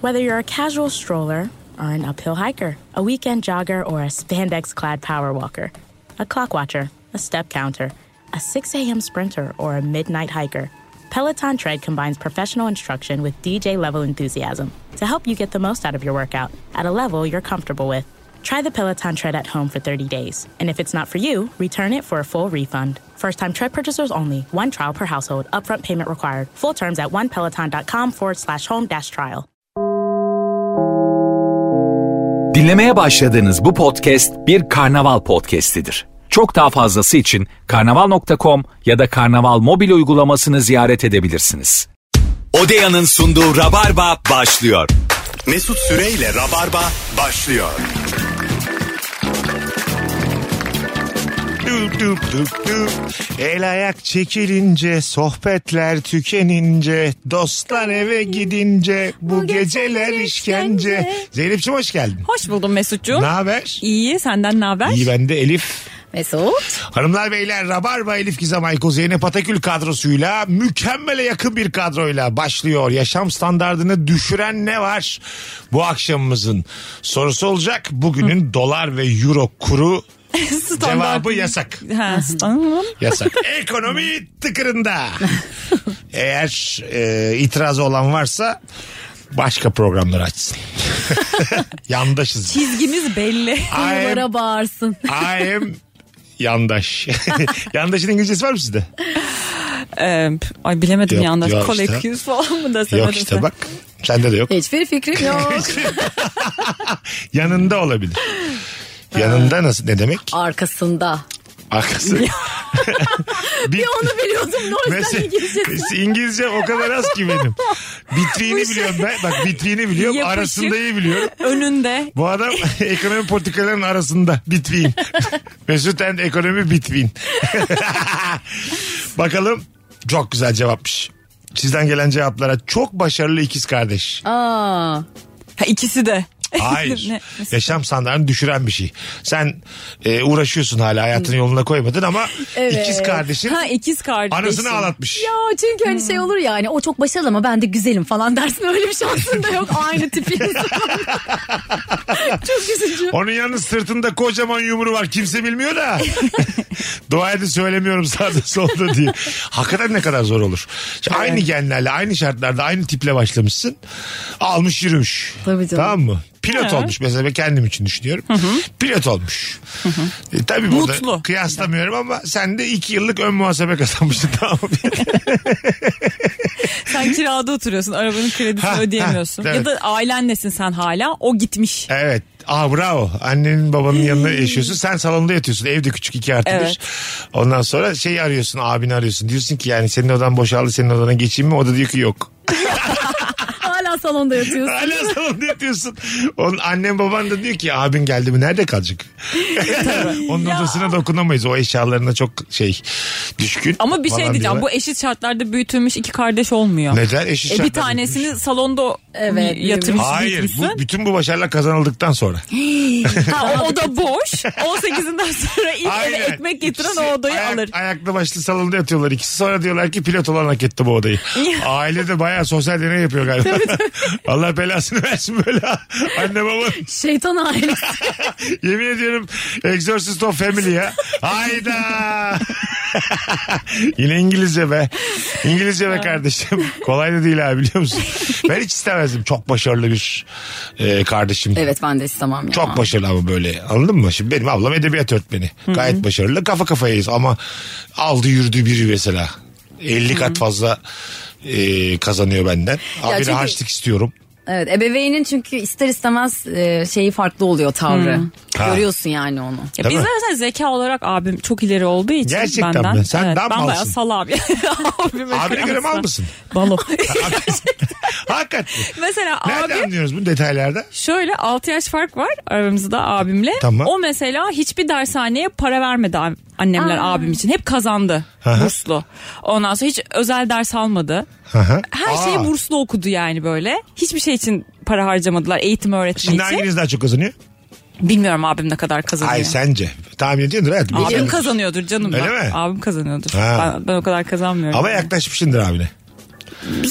Whether you're a casual stroller or an uphill hiker, a weekend jogger or a spandex clad power walker, a clock watcher, a step counter, a 6 a.m. sprinter, or a midnight hiker, Peloton Tread combines professional instruction with DJ level enthusiasm to help you get the most out of your workout at a level you're comfortable with. Try the Peloton Tread at home for 30 days, and if it's not for you, return it for a full refund. First time tread purchasers only, one trial per household, upfront payment required. Full terms at onepeloton.com forward slash home dash trial. Dinlemeye başladığınız bu podcast bir karnaval podcastidir. Çok daha fazlası için karnaval.com ya da karnaval mobil uygulamasını ziyaret edebilirsiniz. Odeya'nın sunduğu Rabarba başlıyor. Mesut Süreyle Rabarba başlıyor. Dup dup dup dup. El ayak çekilince, sohbetler tükenince, dostlar eve gidince, bu, Bu geceler geceler işkence. işkence. Zeynep'ciğim hoş geldin. Hoş buldum Mesut'cuğum. Ne haber? İyi senden ne haber? İyi ben de Elif. Mesut. Hanımlar beyler Rabarba Elif Gizem Ayko Zeynep Atakül kadrosuyla mükemmele yakın bir kadroyla başlıyor. Yaşam standartını düşüren ne var bu akşamımızın sorusu olacak. Bugünün dolar ve euro kuru cevabı yasak. Ha, standart. Yasak. Ekonomi tıkırında. Eğer e, itirazı olan varsa başka programları açsın. Yandaşız. Çizgimiz belli. I am, bağırsın. I am yandaş. Yandaşın İngilizcesi var mı sizde? Ee, ay bilemedim Yok, yandaş. yok Koleküs işte. falan mı desem? Yok işte bak. Sende de yok. Hiçbir fikrim yok. Yanında olabilir. Yanında nasıl ne demek? arkasında. Arkası. Bir, Onu biliyordum. Ne Mesela- İngilizce o kadar az ki benim. Vitriğini biliyorum ben. Bak vitriğini biliyorum. şey- Yapışık. Arasındayı biliyorum. Önünde. Bu adam ekonomi politikalarının arasında between. Mesut and ekonomi between. Bakalım çok güzel cevapmış. Sizden gelen cevaplara çok başarılı ikiz kardeş. Aa, Ha, ikisi de. Hayır. Ne? Mesela- Yaşam standartını düşüren bir şey. Sen e, uğraşıyorsun hala hayatını yoluna koymadın ama Evet. ikiz kardeşin Hmm. Ha ikiz kardeşim. Hmm. anasını ağlatmış. ya çünkü hani şey olur ya hani o çok başarılı ama ben de güzelim falan dersin öyle bir şansın da yok aynı tipiyiz. çok üzücü. Onun yalnız sırtında kocaman yumru var. Kimse bilmiyor da. Dua edin söylemiyorum sağda solda diye. Hakikaten ne kadar zor olur. Şimdi Aynı genlerle, aynı şartlarda, aynı tiple başlamışsın. Almış yürümüş. Tabii canım. Tamam mı? Pilot olmuş mesela ben kendim için düşünüyorum. Pilot olmuş. E, tabii burada Mutlu. kıyaslamıyorum ama sen de iki yıllık ön muhasebe kazanmışsın tamam mı? Sen kirada oturuyorsun. Arabanın kredisini Ha, ha, ödeyemiyorsun. evet. Ya da ailenlesin sen hala. O gitmiş. Evet. Aa bravo. Annenin babanın yanında yaşıyorsun. Sen salonda yatıyorsun. Evde küçük iki artı bir. Evet. Ondan sonra şey arıyorsun abini arıyorsun. Diyorsun ki yani senin odan boşaldı senin odana geçeyim mi? O da diyor ki yok. Hala salonda yatıyorsun. Hala salonda yatıyorsun. Onun annen baban da diyor ki abin geldi mi nerede kalacak? Onun odasına dokunamayız. O eşyalarına çok şey düşkün. Ama bir şey falan diyeceğim. Bu diyorlar. eşit şartlarda büyütülmüş iki kardeş olmuyor. Neden? Eşit E, bir şartlarda tanesini büyümüş. salonda Evet, yatırmış Hayır. büyütmüşsün. Bu, bütün bu başarılar kazanıldıktan sonra. Ha, o oda boş. 18'inden sonra ilk eve ekmek getiren İkisi o odayı Şey, ayak- alır. Ayaklı başlı salonda yatıyorlar ikisi. Sonra diyorlar ki pilot olan hak etti bu odayı. Aile de bayağı sosyal deney yapıyor galiba. Allah belasını versin böyle. Anne baba Şeytan ailesi. yemin ediyorum Exorcist of Family ya. Hayda. Yine İngilizce be. İngilizce be kardeşim. Kolay da değil abi biliyor musun? Ben hiç istemezdim. Çok başarılı bir e, kardeşim. Evet ben de istemem ya. Çok başarılı ama böyle anladın mı? Şimdi benim ablam edebiyat öğretmeni. Gayet başarılı kafa kafayayız ama aldı yürüdü biri mesela. 50 kat fazla e, kazanıyor benden. Abi çünkü- harçlık istiyorum. Evet ebeveynin çünkü ister istemez e, şeyi farklı oluyor tavrı. Hmm. Ha. Görüyorsun yani onu. Ya Değil bizde mi? mesela zeka olarak abim çok ileri olduğu için Gerçekten benden. mi? Sen daha ben mı bayağı malsın? sal abi. Abime Abine göre mal kıyasla. mısın? Balım. Hakikaten. mesela Nerede abim anlıyoruz bu detaylarda? şöyle 6 yaş fark var aramızda abimle. Tamam. O mesela hiçbir dershaneye para vermedi ab- annemler abim için. Hep kazandı. hı. Burslu. Ondan sonra hiç özel ders almadı. Hı-hı. Her şeyi Aa. burslu okudu yani böyle. Hiçbir şey için para harcamadılar eğitim öğretim Şimdi için. hanginiz daha çok kazanıyor? Bilmiyorum abim ne kadar kazanıyor. Hayır sence. Tahmin ediyordur hayatım. Abim Biliyorsun. kazanıyordur canım. Öyle ben. mi? Abim kazanıyordur. Ha. Ben, ben o kadar kazanmıyorum. Ama yaklaşmışsındır abine.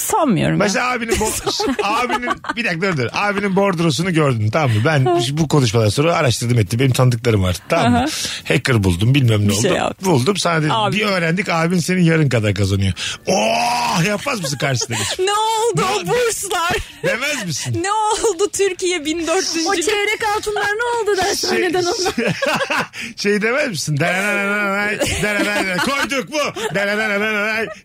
Sanmıyorum. ya. Mesela abinin bo- abinin bir dakika dur dur. Abinin bordrosunu gördün tamam mı? Ben şu- bu konuşmadan sonra araştırdım ettim. Benim tanıdıklarım var. Tamam mı? Hacker buldum bilmem ne oldu. şey yaptın. buldum sana dedim. Abi. Bir öğrendik abin senin yarın kadar kazanıyor. Oh yapmaz mısın karşısında? Ne oldu o Ne- burslar? Demez misin? ne oldu Türkiye 1400. O çeyrek altınlar ne oldu dersin Şey- neden onlar? şey demez misin? Derenay, derenay, Koyduk mu? Derenay,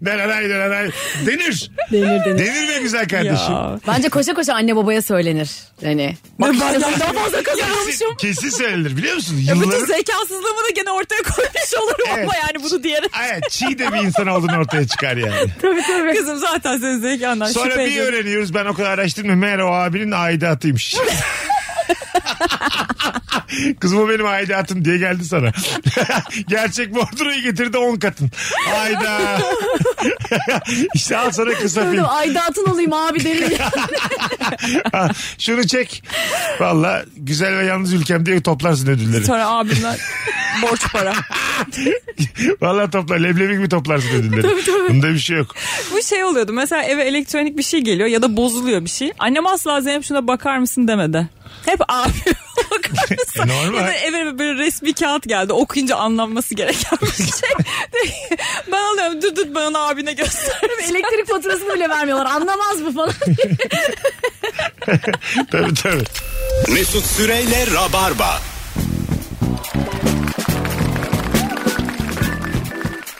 derenay, derenay. Denir. Denir denir. Denir be güzel kardeşim. Ya. Bence koşa koşa anne babaya söylenir. Hani, Yani. Ben benden daha fazla Kesin, kazanmışım. kesin söylenir biliyor musun? Ya Yılların... bütün zekasızlığımı da gene ortaya koymuş olurum Evet. ama yani bunu diyerek. Ay, çiğ de bir insan olduğunu ortaya çıkar yani. Kızım zaten senin zekandan Sonra şüphe bir ediyorum. öğreniyoruz ben o kadar araştırmıyorum. Meğer o abinin aidatıymış. Kız bu benim aidatım diye geldi sana. Gerçek bordroyu getirdi 10 katın. Ayda. işte al sana kısa Söyledim film. aidatın olayım abi derim. Ha, Şunu çek. Valla güzel ve yalnız ülkem diye toplarsın ödülleri. Sonra abimden borç para. Valla topla. Leblebi gibi toplarsın ödülleri. Bunda bir şey yok. Bu şey oluyordu mesela eve elektronik bir şey geliyor ya da bozuluyor bir şey. Annem asla Zeynep şuna bakar mısın demedi. Hep abi bakar mısın? E, normal. Ya da eve böyle resmi kağıt geldi okuyunca anlanması gereken bir şey. ben alıyorum dur dur ben onu abine gösterdim. Elektrik faturasını bile vermiyorlar. Anlamaz bu falan. Tabii tabii. Mesut Süreyle Rabarba.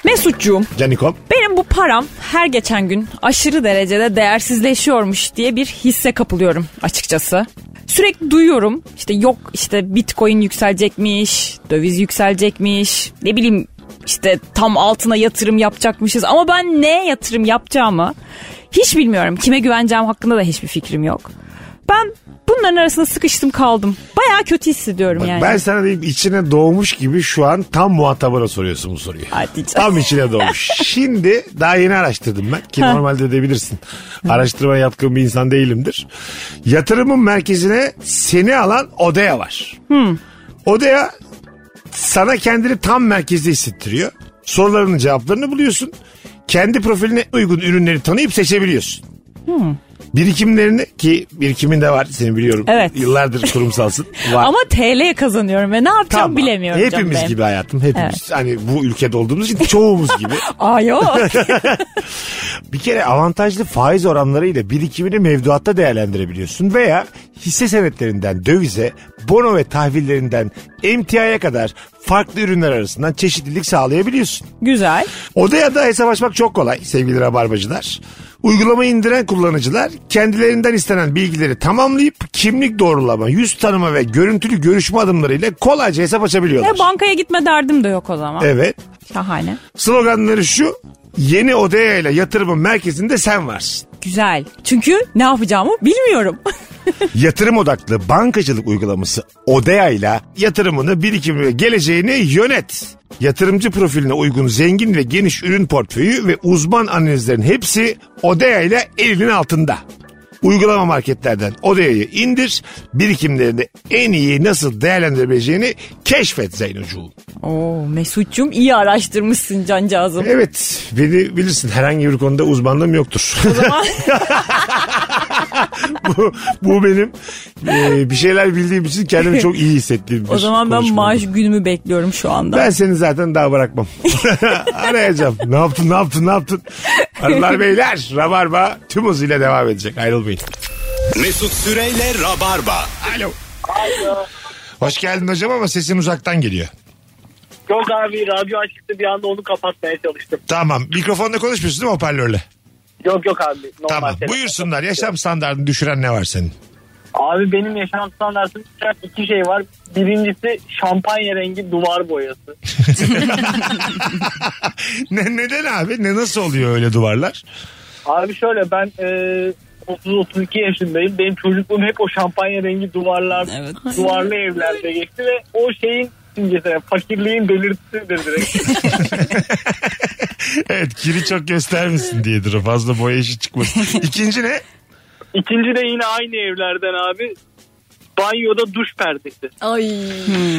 Mesutcuğum Canikom. benim bu param her geçen gün aşırı derecede değersizleşiyormuş diye bir hisse kapılıyorum açıkçası. Sürekli duyuyorum işte yok işte bitcoin yükselecekmiş, döviz yükselecekmiş, ne bileyim işte tam altına yatırım yapacakmışız ama ben ne yatırım yapacağımı hiç bilmiyorum. Kime güveneceğim hakkında da hiçbir fikrim yok. Ben bunların arasında sıkıştım kaldım. Bayağı kötü hissediyorum yani. Ben sana diyeyim içine doğmuş gibi şu an tam muhatabına soruyorsun bu soruyu. Hadi canım. Tam içine doğmuş. Şimdi daha yeni araştırdım ben ki normalde de bilirsin. Araştırmaya yatkın bir insan değilimdir. Yatırımın merkezine seni alan odaya var. Hmm. Odaya sana kendini tam merkezde hissettiriyor. Sorularının cevaplarını buluyorsun. Kendi profiline uygun ürünleri tanıyıp seçebiliyorsun. Hmm. Birikimlerini ki birikimin de var seni biliyorum. Evet. Yıllardır kurumsalsın. Var. Ama TL kazanıyorum ve ne yapacağım Tamam. bilemiyorum. canım Hepimiz benim. gibi hayatım. Hepimiz. Evet. Hani bu ülkede olduğumuz için çoğumuz gibi. Aa yok. Bir kere avantajlı faiz oranlarıyla birikimini mevduatta değerlendirebiliyorsun veya hisse senetlerinden dövize, bono ve tahvillerinden emtiaya kadar farklı ürünler arasından çeşitlilik sağlayabiliyorsun. Güzel. Odaya da hesap açmak çok kolay sevgili rabarbacılar. Uygulamayı indiren kullanıcılar kendilerinden istenen bilgileri tamamlayıp kimlik doğrulama, yüz tanıma ve görüntülü görüşme adımlarıyla kolayca hesap açabiliyorlar. E bankaya gitme derdim de yok o zaman. Evet. Şahane. Sloganları şu. Yeni odaya ile yatırımın merkezinde sen varsın. Güzel. Çünkü ne yapacağımı bilmiyorum. Yatırım odaklı bankacılık uygulaması Odea ile yatırımını, birikimini ve geleceğini yönet. Yatırımcı profiline uygun zengin ve geniş ürün portföyü ve uzman analizlerin hepsi Odea ile elinin altında. Uygulama marketlerden Odea'yı indir, birikimlerini en iyi nasıl değerlendirebileceğini keşfet Zeynocuğum. Oo Mesut'cum iyi araştırmışsın cancağızım. Evet, beni bilirsin herhangi bir konuda uzmanlığım yoktur. bu, bu benim e, bir şeyler bildiğim için kendimi çok iyi hissettiğim bir O zaman ben konuşma maaş oldu. günümü bekliyorum şu anda. Ben seni zaten daha bırakmam. Arayacağım. Ne yaptın, ne yaptın, ne yaptın? Arılar beyler, Rabarba tüm hızıyla devam edecek. Ayrılmayın. Mesut Süreyle Rabarba. Alo. Hoş geldin hocam ama sesin uzaktan geliyor. Yok abi radyo açıktı bir anda onu kapatmaya çalıştım. Tamam. Mikrofonla konuşmuyorsun değil mi hoparlörle? Yok yok abi. Normal Tamam. telefon. Buyursunlar. Yaşam standartını düşüren ne var senin? Abi benim yaşam standartım düşen iki şey var. Birincisi şampanya rengi duvar boyası. ne, neden abi? Ne nasıl oluyor öyle duvarlar? Abi şöyle ben e, 30-32 yaşındayım. Benim çocukluğum hep o şampanya rengi duvarlar, Evet. duvarlı evlerde geçti ve o şeyin simgesi, yani fakirliğin belirtisidir direkt. Evet kiri çok göstermesin diyedir. o. Fazla boya işi çıkmasın. İkinci ne? İkinci de yine aynı evlerden abi. Banyoda duş perdesi. Ay.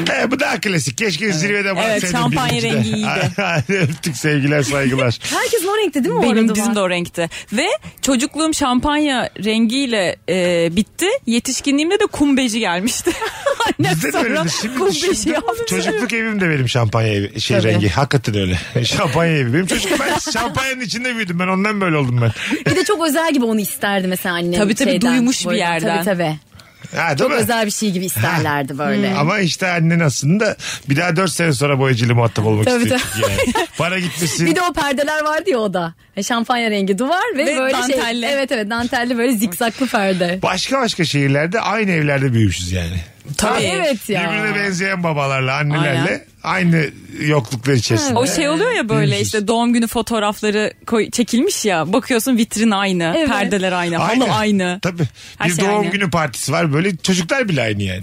He, bu daha klasik. Keşke zirvede bahseydim. şampanya birincide. rengi iyiydi. Hadi Öptük sevgiler saygılar. Herkes o renkte değil mi o Benim arada? bizim de o renkte. Ve çocukluğum şampanya rengiyle e, bitti. Yetişkinliğimde de kumbeji gelmişti. Annem Bizde de sonra öyledir. Şimdi kumbeji şey düşündüm, yaptı. Çocukluk evim de benim şampanya evi, şey rengi. Hakikaten öyle. şampanya evi. Benim çocuk ben şampanyanın içinde büyüdüm ben ondan böyle oldum ben. Bir de çok özel gibi onu isterdi mesela annem. Tabii tabii, şeyden, duymuş bir böyle. yerden. Tabii tabii. Ha, değil Çok mi? özel bir şey gibi isterlerdi böyle. Hmm. Ama işte annen aslında bir daha 4 sene sonra boyacıyla muhatap olmak Tabii, istiyor. Yani. Para gitmesin. Bir de o perdeler vardı ya o da. Şampanya rengi duvar ve, Ve böyle dantelli. şey. Evet evet dantelli böyle zikzaklı perde. Başka başka şehirlerde aynı evlerde büyümüşüz yani. Tabii. Evet ya. Birbirine benzeyen babalarla, annelerle Aynen. aynı yokluklar içerisinde. O şey oluyor ya böyle Bilmişiz. işte doğum günü fotoğrafları koy, çekilmiş ya. Bakıyorsun vitrin aynı, Evet. perdeler aynı, halı Aynen. aynı. Tabii. Her bir şey doğum aynı. günü partisi var böyle çocuklar bile aynı yani.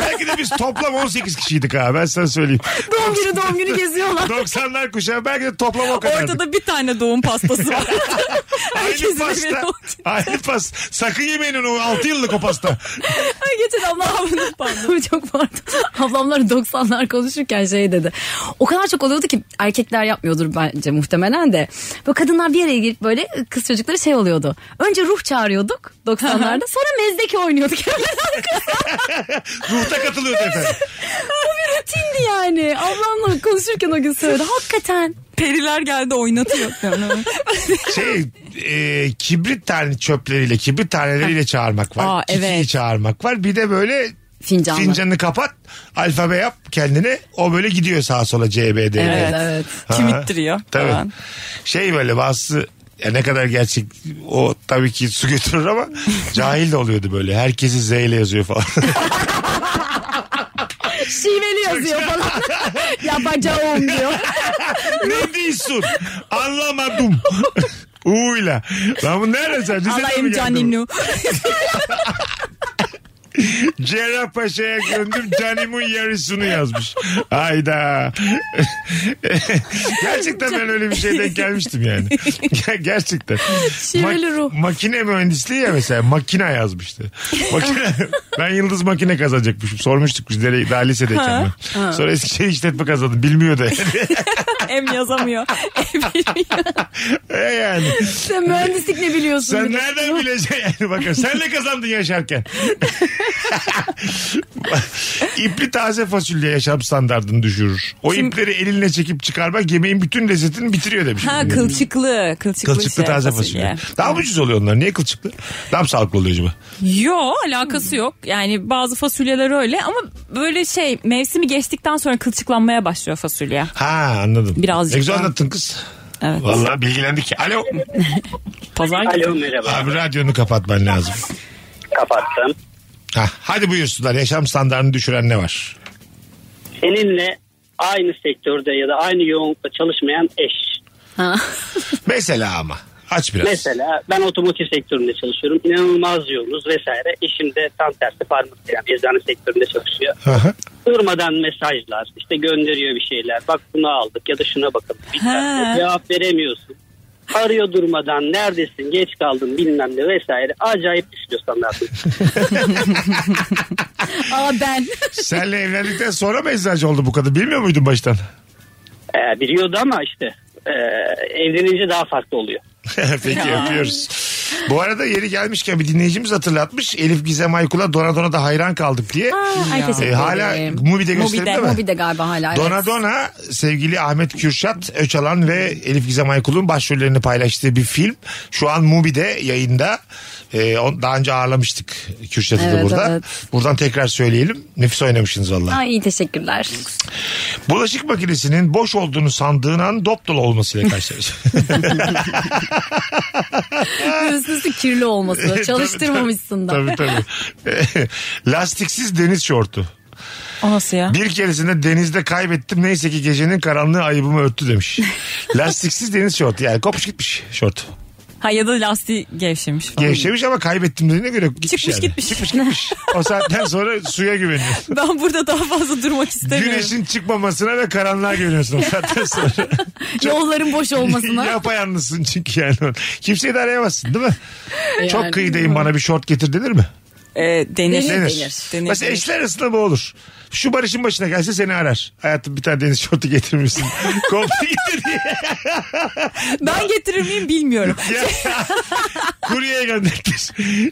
Belki de biz toplam 18 kişiydik ha ben sana söyleyeyim. Doğum günü doğum günü geziyorlar. 90'lar kuşağı belki de toplam o kadardık. Ortada bir tane doğum pastası var. aynı Herkesin evine pasta. o- aynı pas. Sakın yemeyin onu 6 yıllık o pasta. Ay geçen ablam çok pardon. Ablamlar 90'lar konuşurken şey dedi. O kadar çok oluyordu ki erkekler yapmıyordur bence muhtemelen de. Böyle kadınlar bir araya gelip böyle kız çocukları şey oluyordu. Önce ruh çağırıyorduk 90'larda. Sonra mezdeki oynuyorduk. Ruhta katılıyordu efendim. Şimdi yani ablamla konuşurken o gün söyledi. Hakikaten. Periler geldi oynatıyor. Şey e, kibrit tane çöpleriyle kibrit taneleriyle çağırmak var. Aa, Kikiyi evet. çağırmak var. Bir de böyle Fincanlı. fincanını kapat alfabe yap kendine o böyle gidiyor sağa sola CBD. Evet. E. evet. Ha. Kim ittiriyor Tabii. falan. Şey böyle bazı ya ne kadar gerçek o tabii ki su götürür ama cahil de oluyordu böyle. Herkesi Z ile yazıyor falan. Şiveli yazıyor falan. Yapacağım diyor. ne diyorsun? Anlamadım. Uyla. Lan bu nerede sen? Rize'den Allah mi geldin? imcaninu. Cerrahpaşa'ya gömdüm canimin yarısını yazmış. Hayda. Gerçekten ben öyle bir şeyden gelmiştim yani. Ger- Gerçekten. Şiveli ruh. Makine mühendisliği ya mesela makine yazmıştı. Makine, ben yıldız makine kazanacakmışım. Sormuştuk biz de, daha lisedeyken ben. Sonra Eskişehir işletme kazandı. Bilmiyordu yani. Hem yazamıyor. hem bilmiyor. E yani. Sen mühendislik ne biliyorsun? Sen bir de? nereden bileceksin yani bakın. Sen ne kazandın yaşarken? İpli taze fasulye yaşam standartını düşürür. O ipleri elinle çekip çıkarmak yemeğin bütün lezzetini bitiriyor demiş. Ha kılçıklı. Kılçıklı, Kılçıklı şey, taze fasulye. Daha ucuz oluyor onlar. Niye kılçıklı? Daha mı sağlıklı oluyor acaba? Yo alakası yok. Yani bazı fasulyeler öyle ama böyle şey mevsimi geçtikten sonra kılçıklanmaya başlıyor fasulye. Ha anladım. Birazcık Ne güzel daha. anlattın kız. Evet. Vallahi bilgilendik. Alo. Pazar günü. Alo merhaba. Abi radyonu kapatman lazım. Kapattım. Hah, hadi buyursunlar. Yaşam standartını düşüren ne var? Seninle aynı sektörde ya da aynı yoğunlukta çalışmayan eş. Ha. Mesela ama. Aç biraz. Mesela ben otomotiv sektöründe çalışıyorum. İnanılmaz yoğunuz vesaire. Eşim de tam tersi farmasi yani eczane sektöründe çalışıyor. Hı hı. Durmadan mesajlar işte gönderiyor bir şeyler. Bak bunu aldık ya da şuna bakalım. Bilmem ne. Cevap veremiyorsun. Arıyor durmadan neredesin geç kaldın bilmem ne vesaire. Acayip düşüyor standartın. Aa ben. Senle evlendikten sonra mı eczacı oldu bu kadın? Bilmiyor muydun baştan? Ee, biliyordu ama işte e, evlenince daha farklı oluyor. Peki yapıyoruz. Bu arada yeri gelmişken bir dinleyicimiz hatırlatmış. Elif Gizem Aykul'a dona dona da hayran kaldık diye. Ay teşekkür E, hala ederim. Mubi'de gösterildi Mubi'de, mi? Mobi de galiba hala. evet. Dona Dona sevgili Ahmet Kürşat Öçalan ve Elif Gizem Aykul'un başrollerini paylaştığı bir film. Şu an Mubi'de yayında. Ee, on- daha önce ağırlamıştık Kürşat'ı da Evet, burada. evet. Buradan tekrar söyleyelim. Nefis oynamışsınız vallahi. Ay iyi teşekkürler. Bulaşık makinesinin boş olduğunu sandığın an dop dolu olmasıyla karşılaşır. Üstüsü kirli olması. Çalıştırmamışsın da. Tabii tabii. Lastiksiz deniz şortu. O nasıl ya? Bir keresinde denizde kaybettim. Neyse ki gecenin karanlığı ayıbımı örttü demiş. Lastiksiz deniz şortu. Yani kopuş gitmiş şort. Ha ya da lastiği gevşemiş falan. Gevşemiş ama kaybettim dediğine göre gitmiş Çıkmış yani. gitmiş. Çıkmış gitmiş. O saatten sonra suya güveniyorsun. Ben burada daha fazla durmak istemiyorum. Güneşin çıkmamasına ve karanlığa güveniyorsun o saatten sonra. Yolların boş olmasına. Yapayalnızsın çünkü yani. Kimseyi de arayamazsın değil mi? Yani. Çok kıyıdayım bana bir şort getir denir mi? e, denir. Denir. Denir, Mesela denir. eşler arasında bu olur. Şu Barış'ın başına gelse seni arar. Hayatım bir tane deniz şortu getirmişsin. Koptu gitti diye. Ben getirir miyim bilmiyorum. Ya. Kuryeye gönderdiler.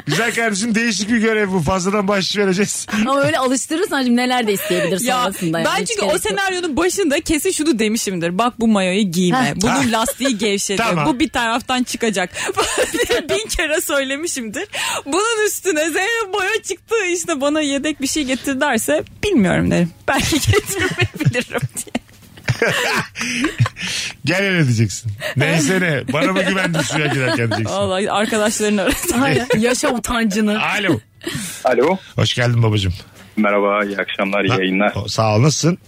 Güzel kardeşim değişik bir görev bu. Fazladan bahşiş vereceğiz. Ama öyle alıştırırsan şimdi neler de isteyebilir Ya sonrasında. yani. ben Hiç çünkü gerek o yok. senaryonun başında kesin şunu demişimdir. Bak bu mayoyu giyme. Heh. Bunun lastiği gevşedi. Tamam. Bu bir taraftan çıkacak. diye Bin kere söylemişimdir. Bunun üstüne Zeynep boya çıktı işte bana yedek bir şey getir derse bilmiyorum derim. Belki getirmeyebilirim diye. Gel öyle diyeceksin. Neyse ne. Bana mı güvendin suya girerken diyeceksin. Vallahi arkadaşların arasında. Hayır, yaşa utancını. Alo. Alo. Hoş geldin babacığım. Merhaba, iyi akşamlar, iyi yayınlar. O- Sağ ol nasılsın?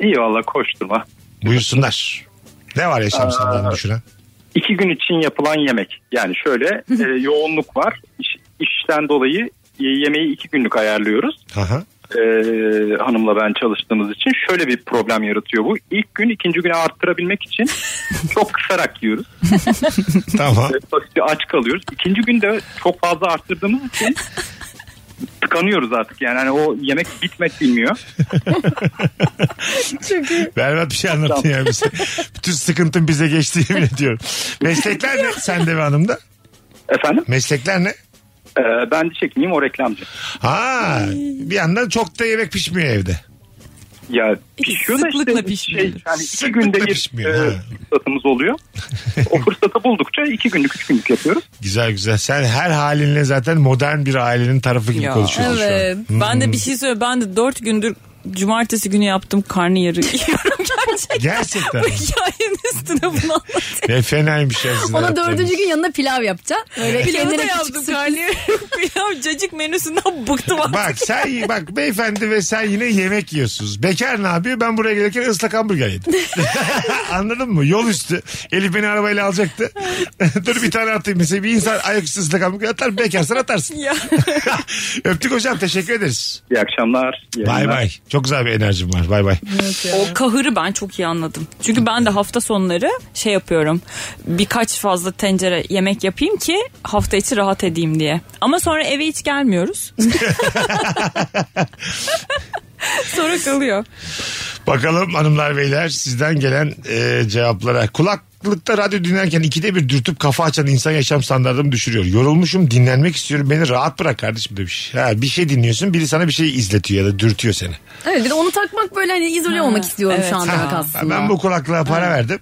İyi valla koşturma. Buyursunlar. Ne var yaşam standartını düşünen? İki gün için yapılan yemek. Yani şöyle e, yoğunluk var. İş, işten dolayı e, yemeği iki günlük ayarlıyoruz. Aha. E, hanımla ben çalıştığımız için şöyle bir problem yaratıyor bu. İlk gün ikinci güne arttırabilmek için çok kısarak yiyoruz. Tamam. E, basitçe aç kalıyoruz. İkinci günde çok fazla arttırdığımız için tıkanıyoruz artık. Yani hani o yemek bitmek bilmiyor. Berbat bir şey anlattın ya bize. Bütün sıkıntın bize geçti yemin ediyorum. Meslekler ne sende ve hanımda? Efendim Meslekler ne? e, ben diş hekimiyim o reklamcı. Ha, bir yandan çok da yemek pişmiyor evde. Ya pişiyor da sıklıkla işte pişmiyor. şey, yani iki Sıklıkla günde bir pişmiyor, e, ha. fırsatımız oluyor. o fırsatı buldukça iki günlük üç günlük yapıyoruz. Güzel güzel. Sen her halinle zaten modern bir ailenin tarafı gibi konuşuyorsun evet. şu an. Ben de bir şey söyle. Ben de dört gündür cumartesi günü yaptım karnıyarı yiyorum gerçekten. Hmm, Gerçekten. Bu hikayenin üstüne bunu anlatayım. ne fenaymış ya sizin Ona hayatlarınız. dördüncü gün yanına pilav yapacaksın. Böyle Pilavı da kendine küçük yaptım sürpriz- karnıyarı. Pilav cacık menüsünden bıktım artık. Bak sen bak beyefendi ve sen yine yemek yiyorsunuz. Bekar ne yapıyor? Ben buraya gelirken ıslak hamburger yedim. Anladın mı? Yol üstü. Elif beni arabayla alacaktı. Dur bir tane atayım mesela. Bir insan ayaküstü ıslak hamburger atar. Bekarsan atarsın. Ya. Öptük hocam. Teşekkür ederiz. İyi akşamlar. iyi Bay yayınlar. bay. Çok güzel bir enerjim var. Bay bay. O kahırı ben çok iyi anladım. Çünkü ben de hafta sonları şey yapıyorum. Birkaç fazla tencere yemek yapayım ki hafta içi rahat edeyim diye. Ama sonra eve hiç gelmiyoruz. sonra kalıyor. Bakalım hanımlar beyler sizden gelen e, cevaplara. Kulaklıkta radyo dinlerken ikide bir dürtüp kafa açan insan yaşam standartımı düşürüyor. Yorulmuşum dinlenmek istiyorum beni rahat bırak kardeşim demiş. Ha, bir şey dinliyorsun biri sana bir şey izletiyor ya da dürtüyor seni. Evet bir de onu takmak böyle hani izole olmak istiyorum evet. şu an demek Ha, aslında. Ben bu kulaklığa para verdim.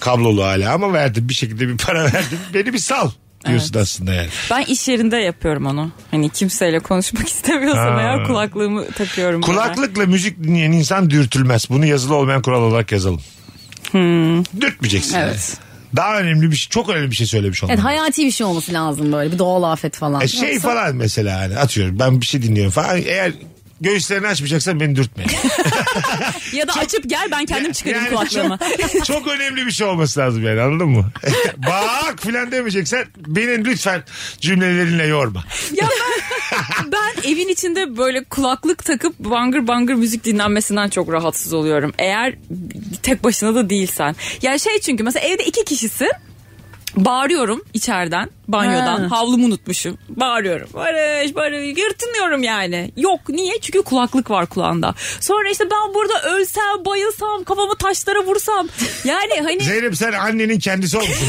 Kablolu hala ama verdim bir şekilde bir para verdim. Beni bir sal diyorsun aslında yani. Ben iş yerinde yapıyorum onu. Hani kimseyle konuşmak istemiyorsam Ha. eğer kulaklığımı takıyorum. buna. Kulaklıkla müzik dinleyen insan dürtülmez. Bunu yazılı olmayan kural olarak yazalım. Dürtmeyeceksin. Hmm. Evet. Daha önemli bir şey, çok önemli bir şey söylemiş olman. Evet hayati bir şey olması lazım böyle bir doğal afet falan. E şey falan mesela hani atıyorum ben bir şey dinliyorum falan. Eğer göğüslerini açmayacaksan beni dürtme. Ya da açıp gel ben kendim çıkarayım Yani kulaklığımı. Çok, çok önemli bir şey olması lazım yani anladın mı? Bak filan demeyeceksen beni lütfen cümlelerinle yorma. Ya ben, ben evin içinde böyle kulaklık takıp bangır bangır müzik dinlenmesinden çok rahatsız oluyorum. Eğer tek başına da değilsen. Ya şey çünkü mesela evde iki kişisin. Bağırıyorum içeriden, banyodan. Ha. Havlumu unutmuşum. Bağırıyorum. Barış, barış. Yırtınıyorum yani. Yok niye? Çünkü kulaklık var kulağında. Sonra işte ben burada ölsem, bayılsam, kafamı taşlara vursam. Yani hani Zeynep sen annenin kendisi olmuşsun.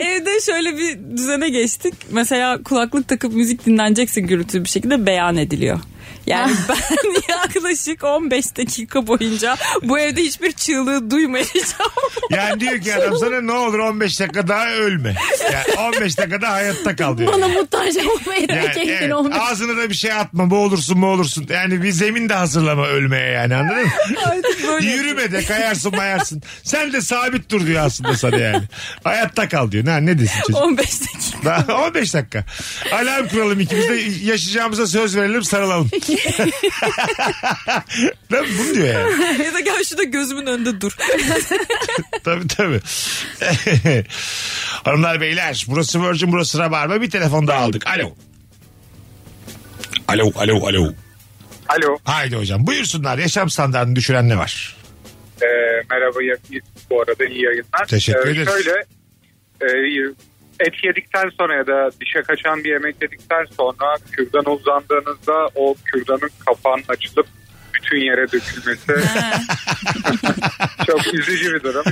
Evde şöyle bir düzene geçtik. Mesela kulaklık takıp müzik dinleneceksin gürültülü bir şekilde beyan ediliyor. Yani Ah. ben yaklaşık 15 dakika boyunca bu evde hiçbir çığlığı duymayacağım. Yani diyor ki adam sana ne olur 15 dakika daha ölme. Yani 15 dakika daha hayatta kal diyor. Bana muhtaç olmayı da Yani kendin evet, olmuş. ağzına da bir şey atma boğulursun boğulursun. Yani bir zemin de hazırlama ölmeye yani anladın mı? Artık böyle. Yürüme de kayarsın mayarsın. Sen de sabit dur diyor aslında sana yani. Hayatta kal diyor. Ne, ne desin çocuk? 15 dakika. Daha 15 dakika. Alarm kuralım ikimiz de yaşayacağımıza söz verelim sarılalım. Lan bunu diyor yani. Ya da gel şurada gözümün önünde dur. Tabii tabii. Hanımlar beyler burası Virgin burası Rabarba bir telefon daha aldık. Alo. Alo alo alo. Alo, Haydi hocam buyursunlar yaşam standartını düşüren ne var? e, merhaba ya- bu arada iyi yayınlar. Teşekkür E, ederiz. Şöyle, e, et yedikten sonra ya da dişe kaçan bir yemek yedikten sonra kürdana uzandığınızda o kürdanın kapağının açılıp bütün yere dökülmesi çok üzücü bir durum.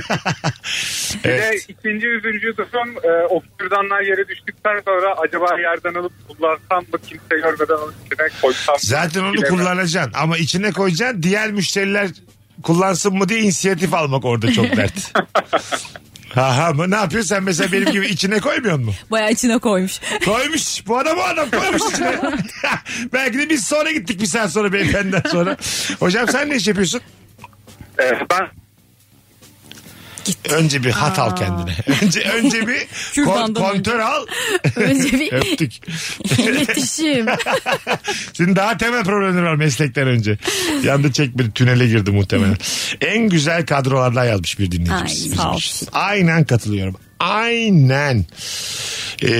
Bir de Evet. ikinci üzücü durum e, o kürdanlar yere düştükten sonra acaba yerden alıp kullansam mı kimse görmeden onun içine koysam mı? Zaten onu Bilemem. kullanacaksın ama içine koyacaksın. Diğer müşteriler kullansın mı diye inisiyatif almak orada çok dert. Aha mı? Ne yapıyorsun sen mesela benim gibi içine koymuyor mu? Bayağı içine koymuş. Koymuş. Bu adam bu adam koymuş içine. Belki de biz sonra gittik bir saat sonra beyefendiden sonra. Hocam sen ne iş yapıyorsun? E, ben Önce bir hat al kendine. Önce önce bir kon- Kürdandan kontör al. Önce bir Öptük. iletişim. Senin daha temel problemleri var meslekten önce. Yanda çek bir tünele girdi muhtemelen. en güzel kadrolardan yazmış bir Ay, dinleyicimiz. bizim sağ için. olsun. Aynen katılıyorum. Aynen. Ee,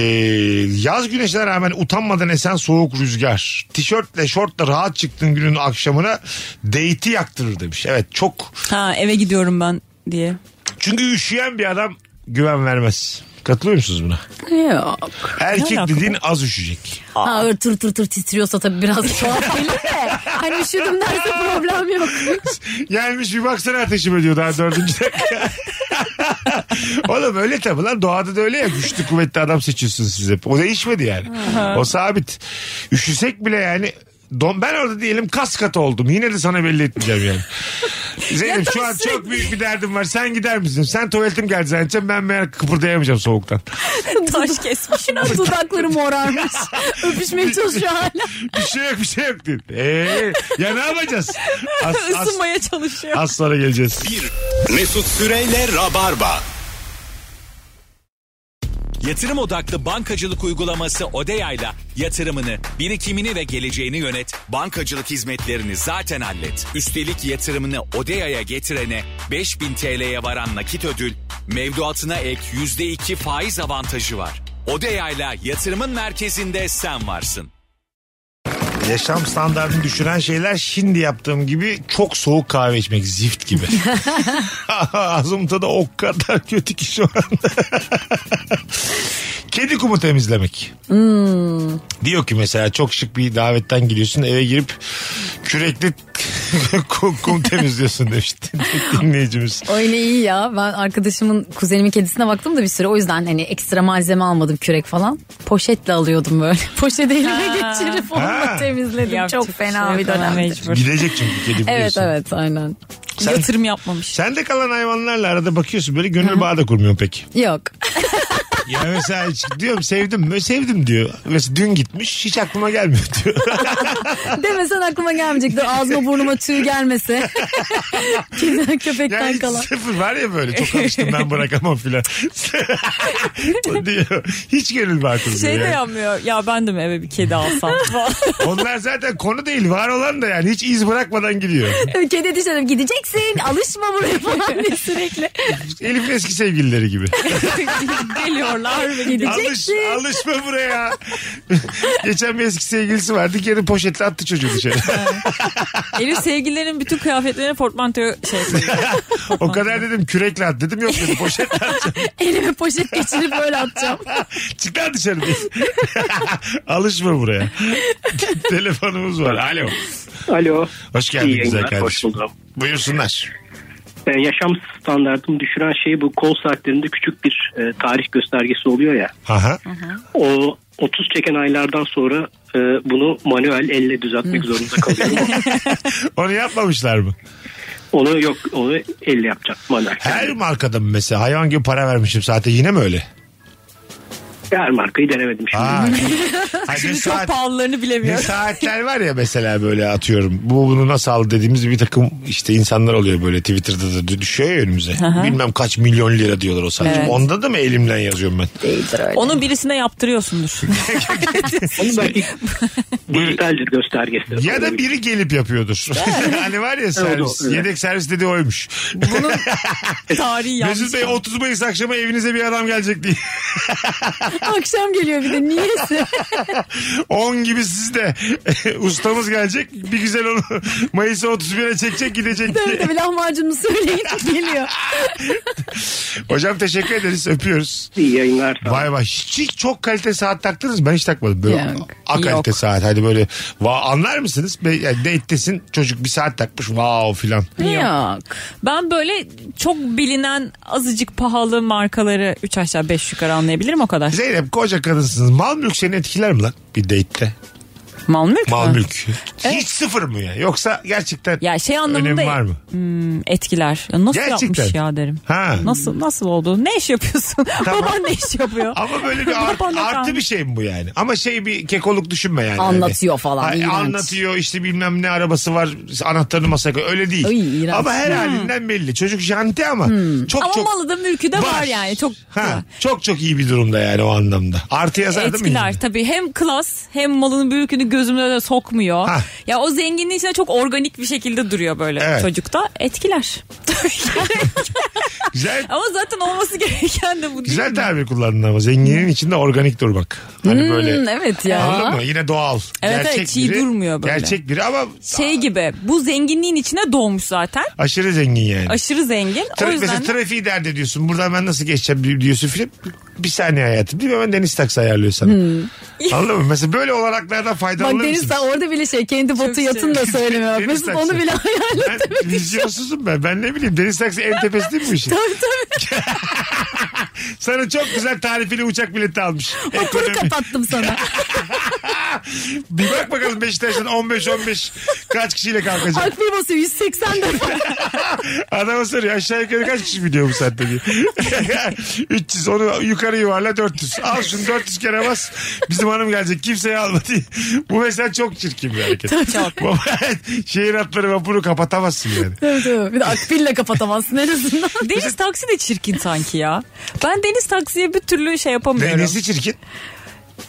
yaz güneşine rağmen utanmadan esen soğuk rüzgar. Tişörtle şortla rahat çıktığın günün akşamına deyti yaktırır demiş. Evet çok. Ha eve gidiyorum ben diye. Çünkü üşüyen bir adam güven vermez. Katılıyor musunuz buna? Yok. Erkek alaka dediğin az üşüyecek. Ha öyle tır tır tır titriyorsa tabii biraz tuhaf gelir de. Hani üşüdüm derse problem yok. Gelmiş bir baksana ateşim ödüyor daha dördüncü dakika. Oğlum öyle tabi lan doğada da öyle ya güçlü kuvvetli adam seçiyorsunuz siz hep. O değişmedi yani. o sabit. Üşüsek bile yani don, ben orada diyelim kas katı oldum. Yine de sana belli etmeyeceğim yani. Zeynep şu an çok büyük bir derdim var. Sen gider misin? Sen tuvaletim geldi zannedeceğim. Ben meğer kıpırdayamayacağım soğuktan. Taş kesmiş. Dudakları morarmış. Öpüşmeye çalışıyor hala. bir şey yok bir şey yok diyor. Ee, ya ne yapacağız? Az, az, Isınmaya çalışıyor. az sonra geleceğiz. Mesut Süreyle Rabarba. Yatırım odaklı bankacılık uygulaması Odeya'yla yatırımını, birikimini ve geleceğini yönet. Bankacılık hizmetlerini zaten hallet. Üstelik yatırımını Odeya'ya getirene 5000 TL'ye varan nakit ödül, mevduatına ek %2 faiz avantajı var. Odeya'yla yatırımın merkezinde sen varsın. Yaşam standartını düşüren şeyler şimdi yaptığım gibi çok soğuk kahve içmek zift gibi. Ağzımda da o kadar kötü ki şu anda. Kedi kumu temizlemek. Hmm. Diyor ki mesela çok şık bir davetten geliyorsun eve girip kürekli kum, kum temizliyorsun demiş dinleyicimiz. Öyle iyi ya. Ben arkadaşımın kuzenimin kedisine baktım da bir süre. O yüzden hani ekstra malzeme almadım kürek falan. Poşetle alıyordum böyle. Poşeti elime geçirip Ha. onunla temizledim. Yapacak Çok fena şey bir yok ama dönem. Mecbur. Gidecek çünkü kedi biliyorsun. Evet evet aynen. Yatırım yapmamış. Sen de kalan hayvanlarla arada bakıyorsun böyle gönül bağı da kurmuyorsun peki. Yok. Ya mesela hiç diyorum sevdim mi? Sevdim diyor. Mesela dün gitmiş hiç aklıma gelmiyor diyor. Demesen aklıma gelmeyecekti. Ağzıma burnuma tüy gelmese. Kedi köpekten Yani hiç kalan. sıfır var ya böyle çok alıştım ben bırakamam filan. O diyor. Hiç gönül bakmıyor. Şey de yapmıyor. Ya ben de mi eve bir kedi alsam? falan. Onlar zaten konu değil var olan da yani hiç iz bırakmadan gidiyor. Kedi dışarı gideceksin. Alışma buraya falan diye sürekli. Elif'in eski sevgilileri gibi. Geliyorlar ve gidiyor. Alış, Gideceksin. alışma buraya. Geçen bir eski sevgilisi vardı geri poşetle attı çocuğu dışarı. Elif sevgililerin bütün kıyafetlerini portmanteau şey koyuyor. o kadar dedim kürekle at dedim yok dedi poşetle at. Elime poşet geçirip öyle atacağım. Çık lan dışarı diye. Alışma buraya. Telefonumuz var. Alo. Alo. Hoş geldin İyi güzel yayınlar, kardeşim. hoş bulduk. Buyursunlar. Ee, yaşam standartımı düşüren şey bu kol saatlerinde küçük bir e, tarih göstergesi oluyor ya. Aha. O 30 çeken aylardan sonra e, bunu manuel elle düzeltmek zorunda kalıyorum. Onu yapmamışlar mı? onu yok onu elle yapacak manuel. Her markada mı mesela? Hayvan gibi para vermişim saate yine mi öyle? Her markayı denemedim şimdi. Aa, Ay, ne, Çok saat, pahalılarını ne bilemiyor. saatler var ya mesela böyle atıyorum. Bu bunu nasıl aldı dediğimiz bir takım işte insanlar oluyor böyle Twitter'da da düşüyor ya önümüze. Bilmem kaç milyon lira diyorlar o saat. Onda da mı elimden yazıyorum ben? Onu birisine yaptırıyorsundur. Onun belki dijitaldir göstergesi. Ya da biri gelip yapıyordur. hani var ya servis. evet. Yedek servis dediği oymuş. Tarihi yanlış. Mesut Bey 30 Mayıs akşama evinize bir adam gelecek diye. Akşam geliyor bir de niyeyse. 10 gibi sizde. Ustamız gelecek. Bir güzel onu Mayıs'a 31'e çekecek gidecek diye. Tabii tabii lahmacununu söyleyin geliyor. Hocam teşekkür ederiz. Öpüyoruz. İyi yayınlar. Vay vay. Hiç, hiç çok kalite saat taktınız. Ben hiç takmadım. Böyle Yok. A kalite saat. Hadi böyle va anlar mısınız? Be- Yani date'tesin çocuk bir saat takmış. Wow filan. Yok. Ben böyle çok bilinen azıcık pahalı markaları 3 aşağı 5 yukarı anlayabilirim o kadar. Zeynep koca kadınsınız. Mal mülk seni etkiler mi lan bir date'te? Mal mülk Mal mü? mülk. Hiç sıfır mı ya? Yoksa gerçekten Ya şey anlamında önemi var mı? Hmm, etkiler. Ya nasıl Gerçekten. yapmış ya derim. Ha. Nasıl nasıl oldu? Ne iş yapıyorsun? Tamam. Baban ne iş yapıyor? Ama böyle bir art- Babana artı kalmış. bir şey mi bu yani? Ama şey bir kekoluk düşünme yani. Anlatıyor falan, Ay, iğrenç. anlatıyor işte bilmem ne arabası var anahtarını masaya koy. Öyle değil. Ay, iğrenç. ama her Hmm. halinden belli. Çocuk janti ama çok Ama çok. malı da mülkü de var yani. Çok Ha, çok çok iyi bir durumda yani o anlamda. Artı yazar değil mi? etkiler tabii. Hem klas hem malının mülkünü gözümün önüne sokmuyor. Ha. Ya o zenginliğin içinde çok organik bir şekilde duruyor böyle Evet. çocukta. Etkiler. Güzel Ama zaten olması gereken de bu değil güzel mi? tabir kullandın ama zenginin içinde organik durmak. Hani Hmm, böyle evet ya. anladın mı? Yine doğal. Evet, evet, çiğ durmuyor böyle. Gerçek biri ama Şey gibi bu zenginliğin içine doğmuş zaten. aşırı zengin yani. Aşırı zengin. Tra- o yüzden Mesela trafiği dert ediyorsun. Buradan ben nasıl geçeceğim di- diyorsun film. Bir saniye hayatım değil mi? Hemen Deniz Taksi ayarlıyor sana. Hmm. Anladın mı? Mesela böyle olanaklardan faydalanır Bak mısın? Deniz sen orada bile şey kendi botu şey. yatın da söyleme. Bak. Deniz Mesut taksi. onu bile hayal et. Ben vizyonsuzum ben. Ben ne bileyim Deniz Taksi en tepesi değil mi bu işin? Tabii tabii. Sana çok güzel tarifli uçak bileti almış. Motoru Ekonomi. kapattım sana. Bir bak bakalım Beşiktaş'tan 15-15 kaç kişiyle kalkacak? Akbil basıyor 180 defa. Adama soruyor aşağı yukarı kaç kişi biliyor bu saatte diye. 300 onu yukarı yuvarla 400. Al şunu 400 kere bas. Bizim hanım gelecek kimseye alma diye. Bu mesela çok çirkin bir hareket. Bu- Şehir hatları vapuru kapatamazsın yani. tabii tabii. Bir de akbille kapatamazsın en azından. deniz taksi de çirkin sanki ya. Ben deniz taksiye bir türlü şey yapamıyorum. Nesi çirkin?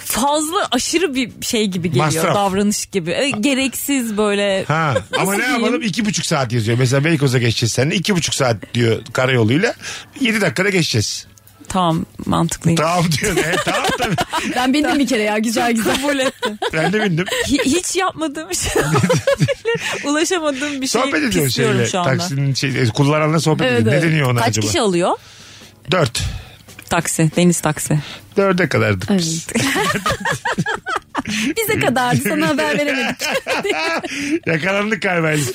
Fazla aşırı bir şey gibi geliyor. Masraf. Davranış gibi. E, gereksiz böyle. Ha. Ama Nasıl ne diyeyim? yapalım? İki buçuk saat yazıyor. Mesela Beykoz'a geçeceğiz seninle. iki buçuk saat diyor karayoluyla. Yedi dakikada geçeceğiz. Tamam mantıklıyım. Tamam diyor. E, tamam tabii. Ben bindim bir kere ya güzel güzel. Kabul ettim. Ben de bindim. Hi- Hiç yapmadığım şey Ulaşamadığım bir şey Sohbet ediyoruz pisliyorum şeyle. şu anda. Taksinin şey, kullananla sohbet Evet, ediyoruz. Ne evet. deniyor ona Kaç acaba? kişi alıyor? Dört. Taksi, deniz taksi. Dörde kadardık biz. Bize kadar sana haber veremedik. Yakalandık galiba Elif.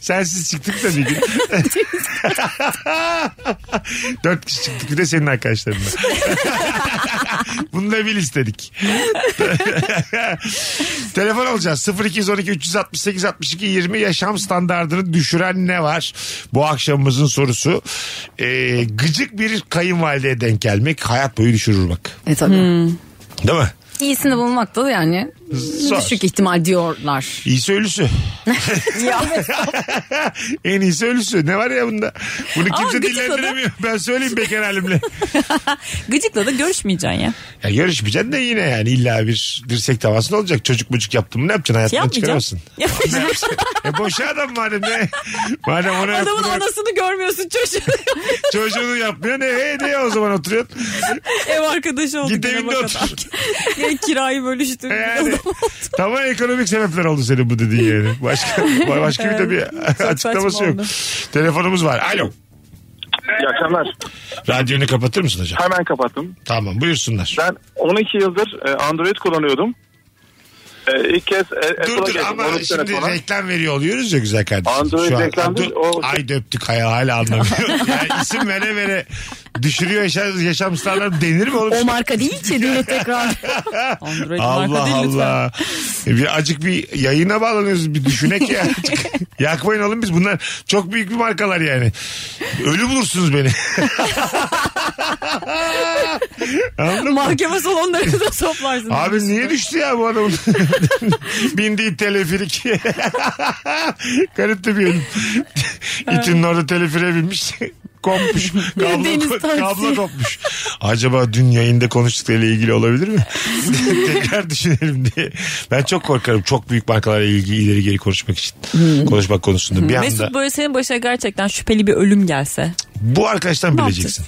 Sensiz çıktık da bir gün. Dört kişi çıktık bir de senin arkadaşlarınla. Bunu da bil istedik. Telefon alacağız. 0212 368 62 20 yaşam standartını düşüren ne var? Bu akşamımızın sorusu. Ee, gıcık bir kayınvalideye denk gelmek hayat boyu düşürür bak. E tabii. Değil mi? İyisini bulmak da yani Zor. düşük ihtimal diyorlar. İyisi ölüsü. en iyisi ölüsü. Ne var ya bunda? Bunu Ama kimse gıcık dillendiremiyor. Ben söyleyeyim bekar halimle. Gıcıkla da görüşmeyeceksin ya. ya yarışmayacaksın da yine yani illa bir dirsek temasın olacak. Çocuk buçuk yaptın mı ne yapacaksın? Hayatından Yapmayacaksın. çıkaramazsın. Yapmayacaksın. e boşa adam madem ne? Madem ona Adamın yapmıyor, anasını görmüyorsun çocuğu. çocuğunu yapmıyor ne he diye o zaman oturuyorsun. Ev arkadaşı oldu. Git gene evinde bak otur. adam. Gene kirayı bölüştüm. Yani, tamam ekonomik sebepler oldu senin bu dediğin yani. Başka, başka bir de bir açıklaması saçma yok. oldu. Telefonumuz var. Alo. İyi akşamlar. Radyonu kapatır mısın hocam? Hemen kapattım. Tamam buyursunlar. Ben 12 yıldır e, Android kullanıyordum. E, İlk kez e, Dur Apple'a dur geldim. ama 13 şimdi şey telefona. reklam veriyor oluyoruz ya güzel kardeşim. Android Şu an- reklam değil, Dur, o- Ay döptük hayal hala anlamıyor. yani isim vere vere düşürüyor yaşam, yaşam standartı denir mi oğlum? O marka değil ki değil mi tekrar. Android marka Allah değil lütfen. Allah. E, Bir acık bir yayına bağlanıyoruz bir düşünek ya. Azıcık. Yakmayın oğlum biz bunlar çok büyük bir markalar yani. Ölü bulursunuz beni. Anladın mı? Mahkeme salonlarını da soplarsın. Abi niye düştü ya bu adam? Bindiği teleferik. Garip de bir ölüm. İtinin orada teleferiğe binmiş. kopmuş. deniz kablo, taksi. kablo kopmuş. Acaba dün yayında konuştuklarıyla ilgili olabilir mi? Tekrar düşünelim diye. Ben çok korkarım çok büyük markalarla ilgili ileri geri konuşmak için. Konuşmak konusunda bir anda. Hmm. Mesut böyle senin başına gerçekten şüpheli bir ölüm gelse. Bu arkadaştan Ne bileceksin.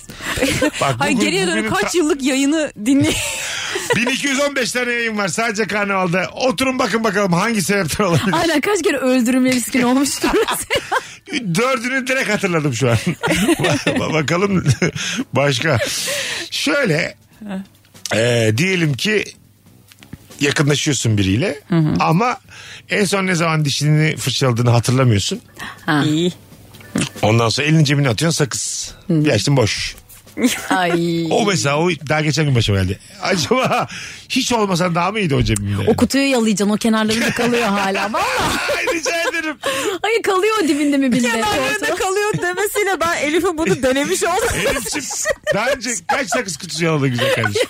Bak, Hayır bugün- geriye dönüp bugünün kaç ta- yıllık yayını dinle. 1215 tane yayın var sadece karnavalda. Oturun bakın bakalım hangi sebepten olabilir. Aynen kaç kere öldürümle riskin olmuştur. Dördünü direkt hatırladım şu an. Ba- Bakalım başka. Şöyle e, diyelim ki yakınlaşıyorsun biriyle ama en son ne zaman dişini fırçaladığını hatırlamıyorsun. İyi. Ondan sonra elini cebine atıyorsun sakız. Bir açtın boş. Ay. O mesela o daha geçen gün başıma geldi. Acaba hiç olmasan daha mı iyiydi o cebimde? O kutuyu yalayacaksın o kenarlarında kalıyor hala. Vallahi. Ay, Rica ederim. Hayır kalıyor o dibinde mi bilmiyorum. Kenarlarında kalıyor demesiyle ben Elif'in bunu denemiş oldum. Elif'ciğim daha önce kaç sakız kutusu yaladı güzel kardeşim.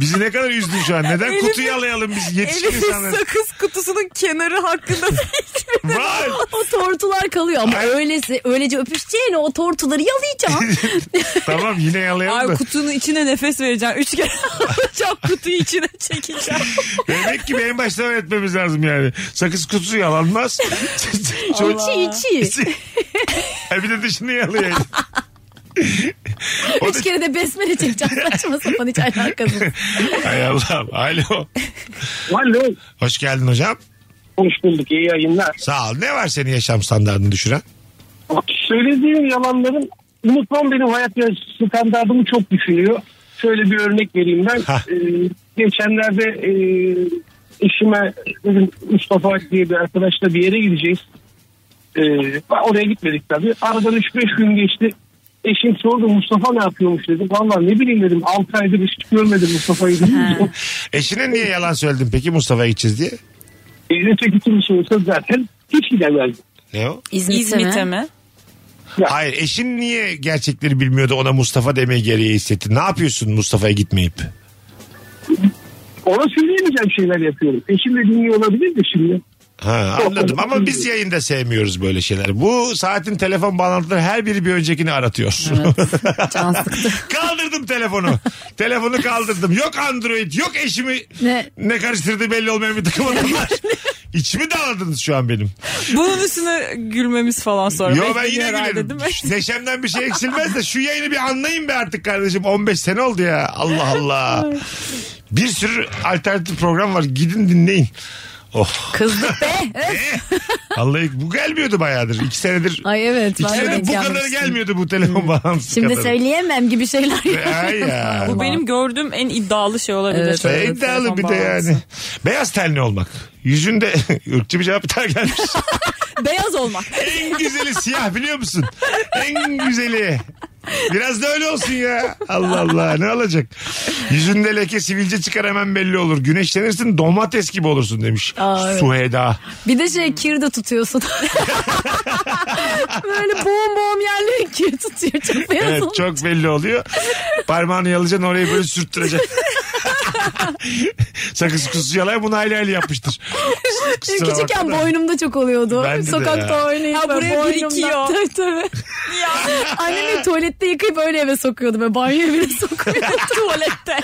Bizi ne kadar üzdün şu an. Neden Elif'in- kutuyu alayalım biz yetişkin Elif'in insanlar? sakız kutusunun kenarı hakkında fikrim yok. Var. O tortular kalıyor ama öylesi, öylece öpüşeceğine o tortuları yalayacağım. tamam yine yalayalım da. Ay kutunun içine nefes vereceğim. Üç kere alacağım kutuyu içine çekeceğim. Demek ki en başta öğretmemiz lazım yani. Sakız kutusu yalanmaz. Çocuk... içi içi. Ha, bir de dışını yalayalım. O da- Üç kere de besmele çekeceğim saçma sapan hiç alakası yok. Hay Allah'ım. Alo. Alo. Hoş geldin hocam. Hoş bulduk. iyi yayınlar. Sağ ol. Ne var senin yaşam standartını düşüren? Söylediğim yalanların unutmam benim hayat yaşam standartımı çok düşünüyor. Şöyle bir örnek vereyim ben. Hah. Ee, geçenlerde e, eşime dedim, Mustafa diye bir arkadaşla bir yere gideceğiz. Ee, oraya gitmedik tabii. Aradan 3-5 gün geçti. Eşim sordu Mustafa ne yapıyormuş dedim. Valla ne bileyim dedim 6 aydır hiç görmedim Mustafa'yı. dedim. Eşine niye yalan söyledin peki Mustafa'ya gideceğiz diye? Evine çekilmiş olsa zaten hiç gidemezdim. Ne o? İzmit'e, İzmit'e mi? mi? Hayır eşin niye gerçekleri bilmiyordu ona Mustafa demeye gereği hissetti? Ne yapıyorsun Mustafa'ya gitmeyip? Ona söyleyemeyeceğim şeyler yapıyorum. Eşim de dinliyor olabilir de şimdi. Ha, anladım ama biz yayında sevmiyoruz böyle şeyler. Bu saatin telefon bağlantıları her biri bir öncekini aratıyor. Can sıktı. kaldırdım telefonu. telefonu kaldırdım. Yok Android yok eşimi ne, Ne? karıştırdı belli olmayan bir takım adamlar. İçimi dağladınız şu an benim. Bunun üstüne gülmemiz falan sonra. Yo ben bekleniyor yine herhalde, gülerim. değil mi? Neşemden bir şey eksilmez de şu yayını bir anlayın be artık kardeşim. 15 sene oldu ya. Allah Allah. Bir sürü alternatif program var. Gidin dinleyin. Oh. Kızdık be. Vallahi bu gelmiyordu bayağıdır. İki senedir. Ay evet. İki ben de senedir bu denk kadar gelmiştim. gelmiyordu bu telefon bağlantısı Şimdi kadar. söyleyemem gibi şeyler. Ay ya. Bu benim gördüğüm en iddialı şey olabilir. Evet, Ve iddialı bir de yani. Beyaz tenli olmak. Yüzünde ırkçı bir cevap ter gelmiş. Beyaz olmak. en güzeli siyah biliyor musun? En güzeli. Biraz da öyle olsun ya. Allah Allah ne olacak? Yüzünde leke sivilce çıkar hemen belli olur. Güneşlenirsin domates gibi olursun demiş. Aa, evet. Suheda. Bir de şey kir de tutuyorsun. Böyle boğum boğum yerleri kir tutuyor. Çok beyaz Evet olmuş. çok belli oluyor. Parmağını yalayacaksın orayı böyle sürttürecek. Sakız kutusu yalay bunu hayli hayli yapmıştır. Benim Kusura Küçükken bakma da. boynumda çok oluyordu. Bende de ya. Sokakta oynayıp Ha, böyle buraya boynumdan- birikiyor. Tabii tabii. Annemi tuvalette yıkayıp öyle eve sokuyordu. Böyle banyoya bile sokuyordu tuvalette.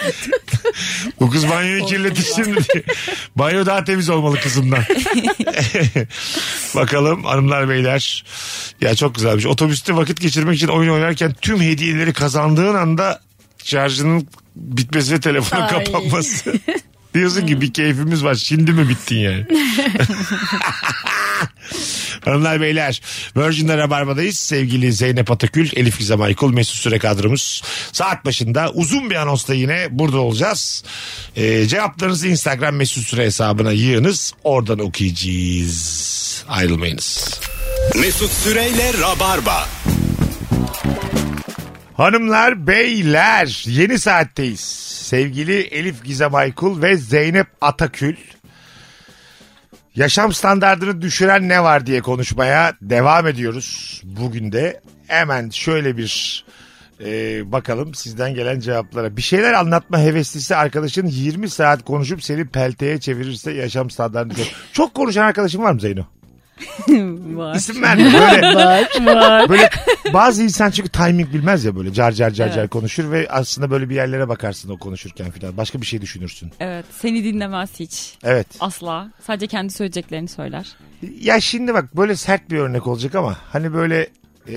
Bu kız banyoyu kirletir şimdi diye. Banyo daha temiz olmalı kızımdan. Bakalım hanımlar beyler. Ya çok güzelmiş. Otobüste vakit geçirmek için oyun oynarken tüm hediyeleri kazandığın anda şarjının bitmesi ve telefonun Ay. kapanması. Diyorsun ki bir keyfimiz var. Şimdi mi bittin yani? Hanımlar beyler Virgin'de Rabarba'dayız. Sevgili Zeynep Atakül, Elif Gizem Aykul, Mesut Süre kadromuz. Saat başında uzun bir anonsla yine burada olacağız. Ee, cevaplarınızı Instagram Mesut Süre hesabına yığınız. Oradan okuyacağız. Ayrılmayınız. Mesut Süreyle Rabarba. Hanımlar beyler yeni saatteyiz. Sevgili Elif Gizem Aykul ve Zeynep Atakül. Yaşam standartını düşüren ne var diye konuşmaya devam ediyoruz. Bugün de hemen şöyle bir e, bakalım sizden gelen cevaplara. Bir şeyler anlatma heveslisi arkadaşın 20 saat konuşup seni pelteye çevirirse yaşam standartını düşür. Çok konuşan arkadaşın var mı Zeyno? Var. İsim vermiyor. Böyle, Var, var. böyle bazı insan çünkü timing bilmez ya böyle car car car car konuşur ve aslında böyle bir yerlere bakarsın o konuşurken filan. Başka bir şey düşünürsün. Evet seni dinlemez hiç. Evet. Asla. Sadece kendi söyleyeceklerini söyler. Ya şimdi bak böyle sert bir örnek olacak ama hani böyle e,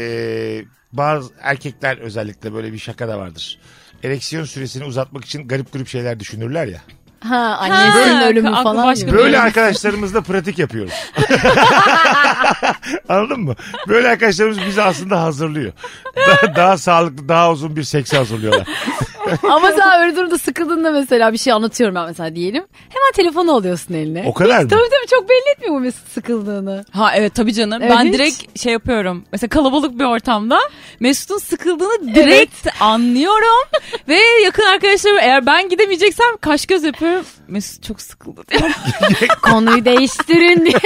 bazı erkekler özellikle böyle bir şaka da vardır. Ereksiyon süresini uzatmak için garip garip şeyler düşünürler ya. Ha annesinin Ha, ölümü aklı falan. başka gibi. bir- Böyle arkadaşlarımızla pratik yapıyoruz. Anladın mı? Böyle arkadaşlarımız bizi aslında hazırlıyor. Daha, daha sağlıklı, daha uzun bir seks hazırlıyorlar. Ama sen öyle durumda sıkıldığında mesela bir şey anlatıyorum ben mesela diyelim. Hemen telefonu alıyorsun eline. O kadar mı? Tabii tabii çok belli etmiyor mu Mesut sıkıldığını. Ha evet tabii canım. Evet. Ben direkt şey yapıyorum. Mesela kalabalık bir ortamda Mesut'un sıkıldığını direkt anlıyorum. Ve yakın arkadaşlarım eğer ben gidemeyeceksem kaş göz yapıyorum. Mesut çok sıkıldı diyorum. Konuyu değiştirin diye.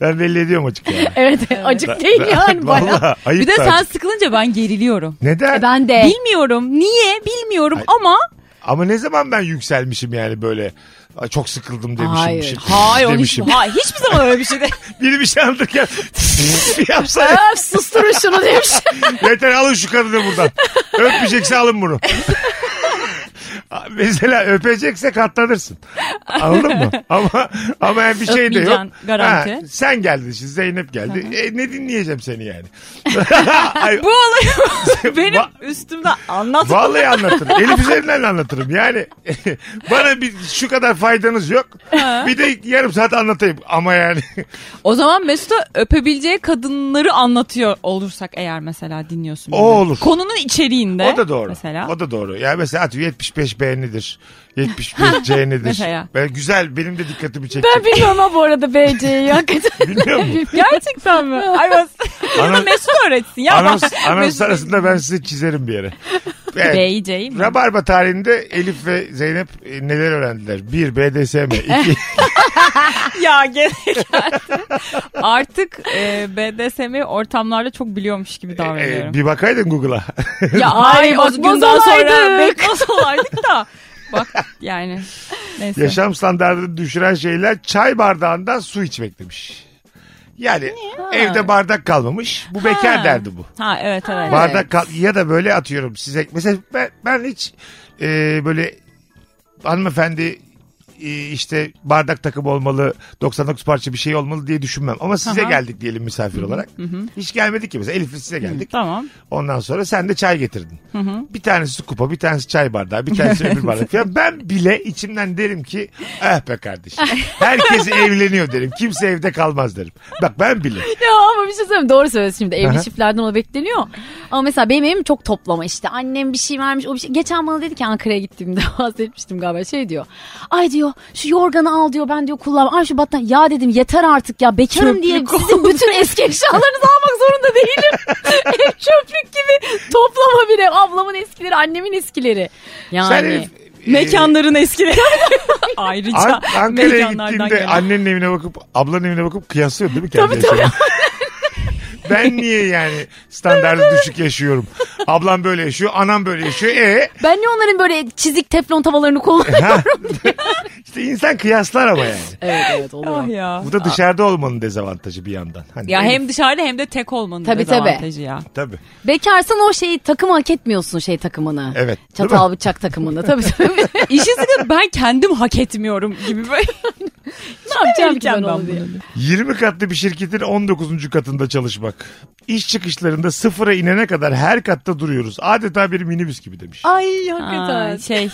Ben belli ediyorum açık yani. evet acık değil yani bayağı. Valla ayıp Bir de sen artık. sıkılınca ben geriliyorum. Neden? E, Ben de. Bilmiyorum. Niye bilmiyorum ama Ama ne zaman ben yükselmişim yani böyle "Ay, çok sıkıldım demişim. Hayır. bir şey- hayır onun hiç, demişim. hayır, hiçbir zaman öyle bir şey değil. Biri bir şey anlatırken bir yapsa ya. Öf susturun şunu şey. demiş. yeter alın şu kadını buradan. Öpmeyecekse alın bunu. Mesela öpecekse katlanırsın. Anladın mı? Ama ama yani bir şey de yok. Öpmeyeceksin, garanti. sen geldin şimdi Zeynep geldi. E, ne dinleyeceğim seni yani? Ay, Bu olayı benim Va- üstümde anlat. Vallahi anlatırım. Elif üzerinden anlatırım. Yani bana bir şu kadar faydanız yok. Bir de yarım saat anlatayım. Ama yani O zaman Mesut'a öpebileceği kadınları anlatıyor olursak eğer mesela dinliyorsun. O bizi. olur. Konunun içeriğinde. o da doğru. Mesela. O da doğru. Yani mesela atıyorum 75 beğenidir. 75 C'nidir. Mesela. şey Ben güzel benim de dikkatimi çekecek. Ben bilmiyorum ama bu arada BC'yi hakikaten. Biliyor musun? Gerçekten mi? Ay Mesut, Bunu da Anons- Mesut öğretsin ya. Anons, Bak, anons Mesut- arasında ben sizi çizerim bir yere. Evet. BJ mi? Rabarba tarihinde Elif ve Zeynep e, neler öğrendiler? Bir, BDSM. iki ya genel Artık e, BDSM ortamlarda çok biliyormuş gibi e, davranıyorum. bir bakaydın Google'a. ya ay Ay, o günden bakmaz sonra olaydık. bekmez olaydık da. Bak yani. Neyse. Yaşam standartını düşüren şeyler çay bardağından su içmek demiş. Yani evde bardak kalmamış. Bu bekar Ha. derdi bu. Ha evet evet. Bardak kal- ya da böyle atıyorum size. Mesela ben, ben hiç e, böyle hanımefendi e, işte bardak takım olmalı 99 parça bir şey olmalı diye düşünmem. Ama size Aha. geldik diyelim misafir olarak. Hiç gelmedik ki mesela Elif'le size geldik. Tamam. Ondan sonra sen de çay getirdin. Bir tanesi su kupa, bir tanesi çay bardağı, bir tanesi öbür bardak. falan. ben bile içimden derim ki ah be kardeşim. Herkes evleniyor derim. Kimse evde kalmaz derim. Bak ben bile. Ya ama bir şey söyleyeyim mi? doğru söylüyorsun şimdi Aha. evli çiftlerden o bekleniyor. Ama mesela benim evim çok toplama işte annem bir şey vermiş o bir şey. Geçen bana dedi ki Ankara'ya gittiğimde bahsetmiştim galiba şey diyor. Ay diyor şu yorganı al diyor ben diyor kullan. Ay şu battan ya dedim yeter artık ya bekarım diye sizin bütün eski eşyalarınızı almak zorunda değilim. Ev çöplük gibi toplama bir ev ablamın eskileri annemin eskileri. Yani. Sen Elif, e, Mekanların eskileri. Ee, Ayrıca An- Ankara'ya mekanlardan gittiğinde gelen. annenin evine bakıp ablanın evine bakıp kıyaslıyor değil mi kendini? ben niye yani standartı düşük yaşıyorum? Ablam böyle yaşıyor, anam böyle yaşıyor. E Ben niye onların böyle çizik teflon tavalarını kullanıyorum? ha? işte insan kıyaslar ama yani. evet evet oluyor. Ah ya. Bu da dışarıda olmanın dezavantajı bir yandan. Hani Ya Elif- hem dışarıda hem de tek olmanın Tabii, tabii. dezavantajı ya. Tabii. Bekarsan o şeyi takım hak etmiyorsun şey takımını. Evet, değil Çatal bıçak takımını tabii tabii. İşin sıkıntı ben kendim hak etmiyorum gibi böyle. ne yapacağım ki ben ben onu diye. bunu? 20 katlı bir şirketin 19. katında çalışmak. İş çıkışlarında sıfıra inene kadar her katta duruyoruz. Adeta bir minibüs gibi demiş. Ay Aa, şey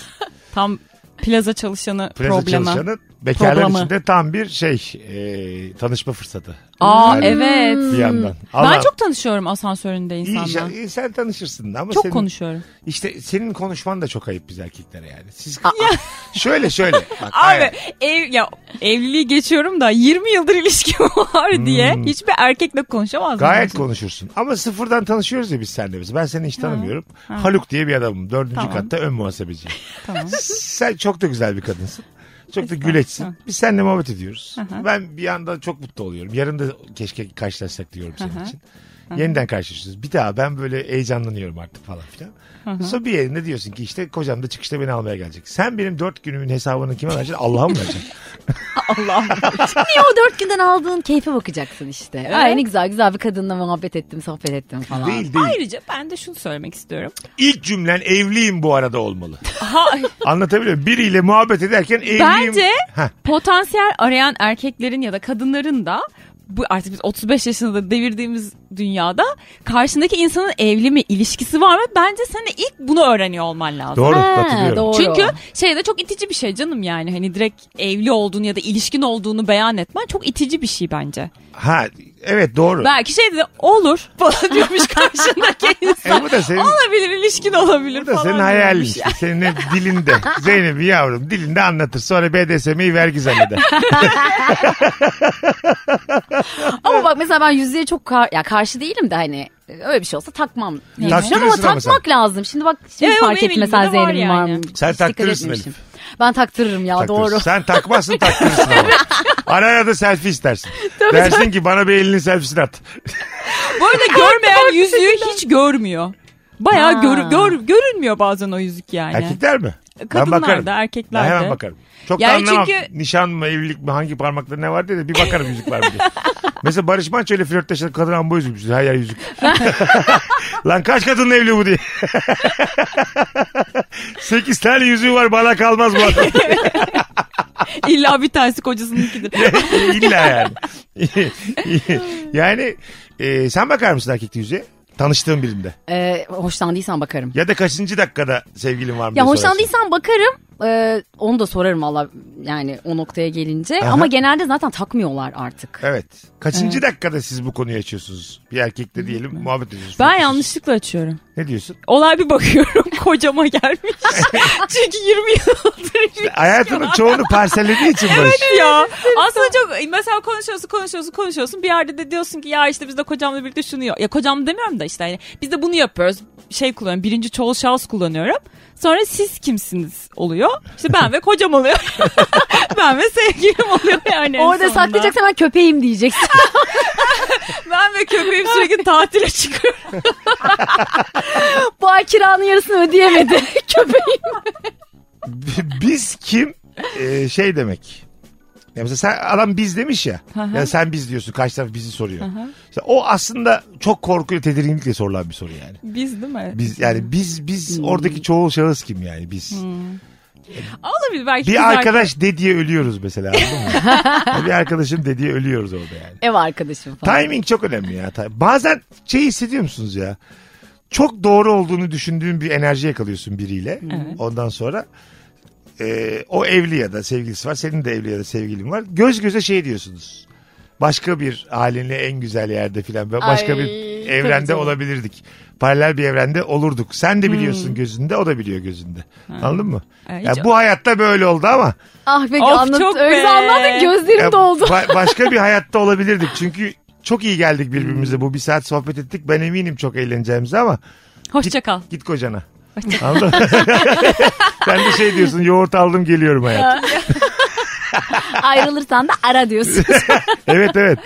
tam plaza çalışanı Plaza problemi. çalışanı bekarlar Problemi. için de tam bir şey e, tanışma fırsatı. Aa Yani evet. Bir yandan. Hmm. Ben Hmm. Allah- çok tanışıyorum asansöründe İyi insanla. işe- iyi, sen tanışırsın ama Çok senin, konuşuyorum. İşte senin konuşman da çok ayıp biz erkeklere yani. Siz şöyle şöyle. Bak, Abi hayır. ev ya evliliği geçiyorum da 20 yıldır ilişkim var diye hiçbir erkekle konuşamazdım. Hmm. Gayet bence. konuşursun. Ama sıfırdan tanışıyoruz ya biz seninle biz. Ben seni hiç tanımıyorum. Haluk diye bir adamım. Dördüncü Tamam. katta ön muhasebeciyim. Tamam. Sen çok da güzel bir kadınsın. Çok da Estağfurullah. güleçsin. Biz seninle muhabbet ediyoruz. Aha. Ben bir yandan çok mutlu oluyorum. Yarın da keşke karşılaşsak diyorum senin için. Yeniden karşılaşıyoruz. Bir daha ben böyle heyecanlanıyorum artık falan filan. Hı hı. Sonra bir yerinde diyorsun ki işte kocam da çıkışta beni almaya gelecek. Sen benim dört günümün hesabını kime vereceksin? Allah'a mı vereceksin? Niye o dört günden aldığın keyfe bakacaksın işte. Ay ne güzel güzel bir kadınla muhabbet ettim sohbet ettim falan. Değil, değil. Ayrıca ben de şunu söylemek istiyorum. İlk cümlen evliyim bu arada olmalı. Ha, Anlatabiliyor muyum? Biriyle muhabbet ederken evliyim. Bence Heh. potansiyel arayan erkeklerin ya da kadınların da bu artık biz 35 yaşında da devirdiğimiz dünyada karşındaki insanın evli mi ilişkisi var mı? Bence sen de ilk bunu öğreniyor olman lazım. Doğru, Ha, katılıyorum. doğru. Çünkü şey de çok itici bir şey canım yani hani direkt evli olduğunu ya da ilişkin olduğunu beyan etmen çok itici bir şey bence. Ha evet doğru. Belki şey de olur falan diyormuş karşındaki insan. E, bu da senin- Olabilir ilişkin olabilir Bu da falan. senin diyormuş hayalin ya. işte. Senin hep dilinde. Zeynep'i yavrum dilinde anlatır. Sonra BDSM'yi vergi zanneder. Ama bak mesela ben yüzüğe çok kar- ya karşı değilim de hani öyle bir şey olsa takmam diye Taktırırsın düşünüyorum ama ama takmak lazım. Şimdi bak şimdi Evet, fark benim ettim mesela elimde var Zeynep'in var yani. mı? Sen Hiç dikkat taktırırsın etmemişim. Elif. Ben taktırırım ya Taktırırsın. doğru. Sen takmazsın taktırırsın ama. Ara ara da selfie istersin. Tabii, Dersin tabii. ki bana bir elinin selfiesini at. Bu arada görmeyen yüzüğü hiç görmüyor. Bayağı Ha. gör, gör, görünmüyor bazen o yüzük yani. Erkekler mi? Kadınlar ben bakarım. da, erkekler ben de. hemen bakarım. Çok Yani da anlamam. çünkü- Nişan mı evlilik mi hangi parmakta ne var diye de bir bakarım yüzük var mı diye. Mesela Barış Manço ile flörtleşen kadın amba yüzükmüş. Her yer yüzük. Lan kaç kadınla evli bu diye. Sekiz tane yüzüğü var bana kalmaz bu adam. İlla bir tanesi kocasınınkidir. İlla yani. yani e, sen bakar mısın erkekte yüzüğe? Tanıştığın birinde. Ee, hoşlandıysan bakarım. Ya da kaçıncı dakikada sevgilin var mı? diye Ya sorarsın. hoşlandıysan bakarım. Ee, onu da sorarım valla yani o noktaya gelince. Aha. Ama genelde zaten takmıyorlar artık. Evet. Kaçıncı Evet. dakikada siz bu konuyu açıyorsunuz? Bir erkekle diyelim muhabbet ediyorsunuz. Ben yanlışlıkla açıyorum. Ne diyorsun? Olay bir bakıyorum kocama gelmiş. Çünkü 20 yıldır Hayatının çoğunu parsellediği için Barış. Evet ya. Aslında çok mesela konuşuyorsun konuşuyorsun konuşuyorsun bir yerde de diyorsun ki ya işte biz de kocamla birlikte şunu yap- ya kocam demiyorum da işte hani biz de bunu yapıyoruz şey kullanıyorum birinci çoğul şahıs kullanıyorum. Sonra siz kimsiniz oluyor. İşte ben ve kocam oluyor. ben ve sevgilim oluyor yani. en Orada sonunda. saklayacaksan ben köpeğim diyeceksin. Ben ve köpeğim sürekli tatile çıkıyor. Bu ay kiranın yarısını ödeyemedi köpeğim. biz kim? Ee, şey demek. Ya mesela sen adam biz demiş ya. Hı hı. ya sen biz diyorsun. Karşı taraf bizi soruyor. İşte o aslında çok korkuyla tedirginlikle sorulan bir soru yani. Biz değil mi? Biz yani biz Hmm. biz oradaki çoğul şahıs kim yani biz. Olabilir belki. kız Bir erkek- arkadaş dediye ölüyoruz mesela. anladın mı? bir arkadaşım dediye ölüyoruz orada yani. Ev arkadaşım falan. Timing çok önemli ya. Ta- Bazen şey hissediyor musunuz ya? Çok doğru olduğunu düşündüğün bir enerji yakalıyorsun biriyle. Evet. Ondan sonra e, o evli ya da sevgilisi var. Senin de evli ya da sevgilin var. Göz göze şey diyorsunuz. Başka bir halini en güzel yerde filan. Başka Ay, bir tabii evrende canım. olabilirdik. Paralel bir evrende olurduk. Sen de biliyorsun gözünde o da biliyor gözünde. Anladın mı? Ay, Ya Hmm. hiç- bu hayatta böyle oldu ama. Ah be Of, anlat, çok öyle be. anlattın gözlerim Ya doldu. ba- başka bir hayatta olabilirdik. Çünkü çok iyi geldik birbirimize. Bu bir saat sohbet ettik. Ben eminim çok eğleneceğimize ama. Hoşça kal. Git kocana. Anladın mı? Sen de şey diyorsun yoğurt aldım geliyorum hayat. Ayrılırsan da ara diyorsun. evet evet.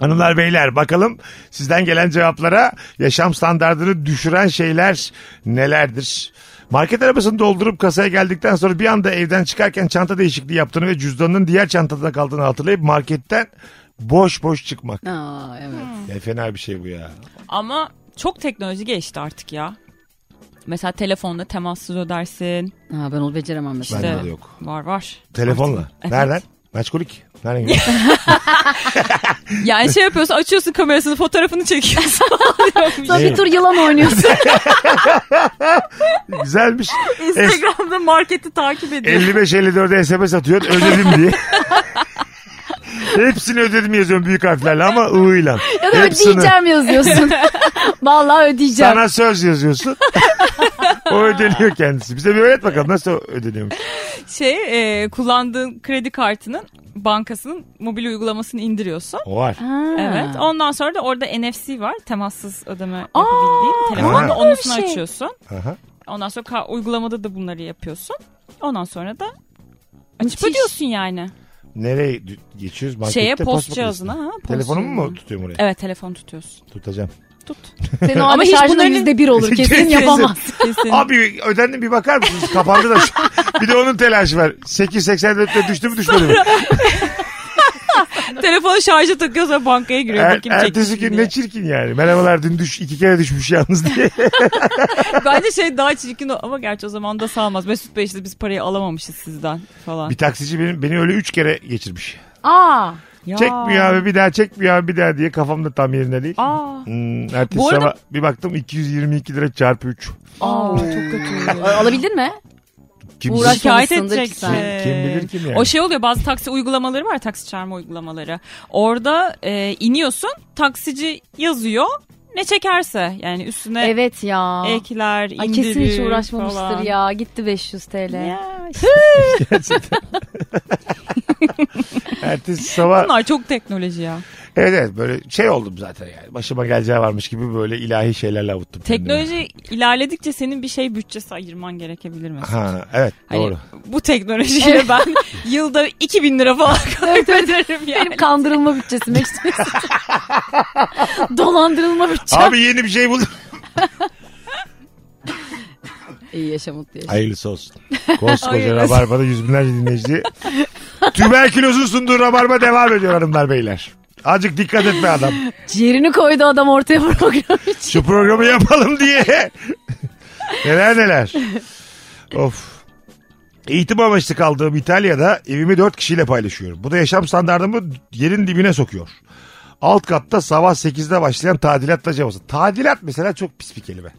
Hanımlar beyler bakalım sizden gelen cevaplara yaşam standartını düşüren şeyler nelerdir? Market arabasını doldurup kasaya geldikten sonra bir anda evden çıkarken çanta değişikliği yaptığını ve cüzdanının diğer çantada kaldığını hatırlayıp marketten boş boş çıkmak. Aa, evet. Ya fena bir şey bu ya. Ama çok teknoloji geçti artık ya. Mesela telefonla temassız ödersin. ben onu beceremem mesela. Bende de yok. Var var. Telefonla. Evet. Nereden? Meçkolik. Nereden geliyor? Yani şey yapıyorsun açıyorsun kamerasını fotoğrafını çekiyorsun. Sonra bir tur yılan oynuyorsun. Güzelmiş. Es- Instagram'da marketi takip ediyorsun. 55-54'e SMS atıyorsun ödedim diye. Hepsini ödedim yazıyorum büyük harflerle ama ığıyla. ya da ödeyeceğim yazıyorsun. Vallahi ödeyeceğim. Sana söz yazıyorsun. o ödeniyor kendisi. Bize bir öğret bakalım nasıl ödeniyormuş. Şey e, kullandığın kredi kartının bankasının mobil uygulamasını indiriyorsun. O var. Evet. Ondan sonra da orada NFC var. Temassız ödeme yapabildiğin. Telefonda Ha. onun üstüne Şey. açıyorsun. Aha. Ondan sonra ka- uygulamada da bunları yapıyorsun. Ondan sonra da açıp Müthiş. ödüyorsun yani. Nereye dü- geçiyoruz? Markette Şeye post post makinesine. cihazına. Ha, post Telefonumu mu cihazına. tutuyorum oraya? Evet telefon tutuyorsun. Tutacağım. Senin o Ama ama hiç şarjının bunların- yüzde bir olur kesin Kesin. yapamaz. Kesin. Abi ödendi bir bakar mısınız? Kapandı da. bir de onun telaşı var. 8.84'te düştü mü düşmedi mi? Telefonu şarja takıyoruz ve bankaya giriyor. Er, bakayım çekmiş ertesi mi gün diye. ne çirkin yani. Merhabalar dün düş, iki kere düşmüş yalnız diye. Bence şey daha çirkin o ama gerçi o zaman da salmaz. Mesut Bey işte biz parayı alamamışız sizden falan. bir taksici benim, beni öyle üç kere geçirmiş. Aa. Ya. Çekmiyor abi bir daha çekmiyor abi bir daha diye kafamda tam yerinde değil. Aa. Hmm, ertesi Bu arada- sabah bir baktım 222 lira çarpı 3. Aa, çok kötü. Alabildin mi? Kim, Uğraş- şey Şikayet Uğraşmamışsındır edecek. ki sen. Ee, kim bilir kim yani. O şey oluyor bazı taksi uygulamaları var taksi çağırma uygulamaları. Orada e, iniyorsun taksici yazıyor ne çekerse yani üstüne Evet ya. ekler indirir Ay kesin hiç uğraşmamıştır falan. ya. Gitti 500 TL. Ya, Ertesi sabah Bunlar çok teknoloji ya. evet, evet böyle şey oldum zaten yani. Başıma geleceği varmış gibi böyle ilahi şeylerle avuttum. kendimi. Teknoloji ilerledikçe senin bir şey bütçesi ayırman gerekebilir mesela. Ha, evet Hani doğru. Bu teknolojiyle ben yılda 2000 lira falan kaybederim yani. Benim kandırılma bütçesime işte. Dolandırılma bütçem. Abi yeni bir şey buldum. İyi yaşa mutlu yaşa. Hayırlısı olsun. Koskoca Rabarba'da yüz binlerce dinleyici. Tüberkülozun sunduğu Rabarba devam ediyor hanımlar beyler. Azıcık dikkat et be adam. Ciğerini koydu adam ortaya program için. Şu programı yapalım diye. neler neler. Of. Eğitim amaçlı kaldığım İtalya'da evimi dört kişiyle paylaşıyorum. Bu da yaşam standartımı yerin dibine sokuyor. Alt katta sabah 8'de başlayan tadilatla cevaplaması. Tadilat mesela çok pis bir kelime.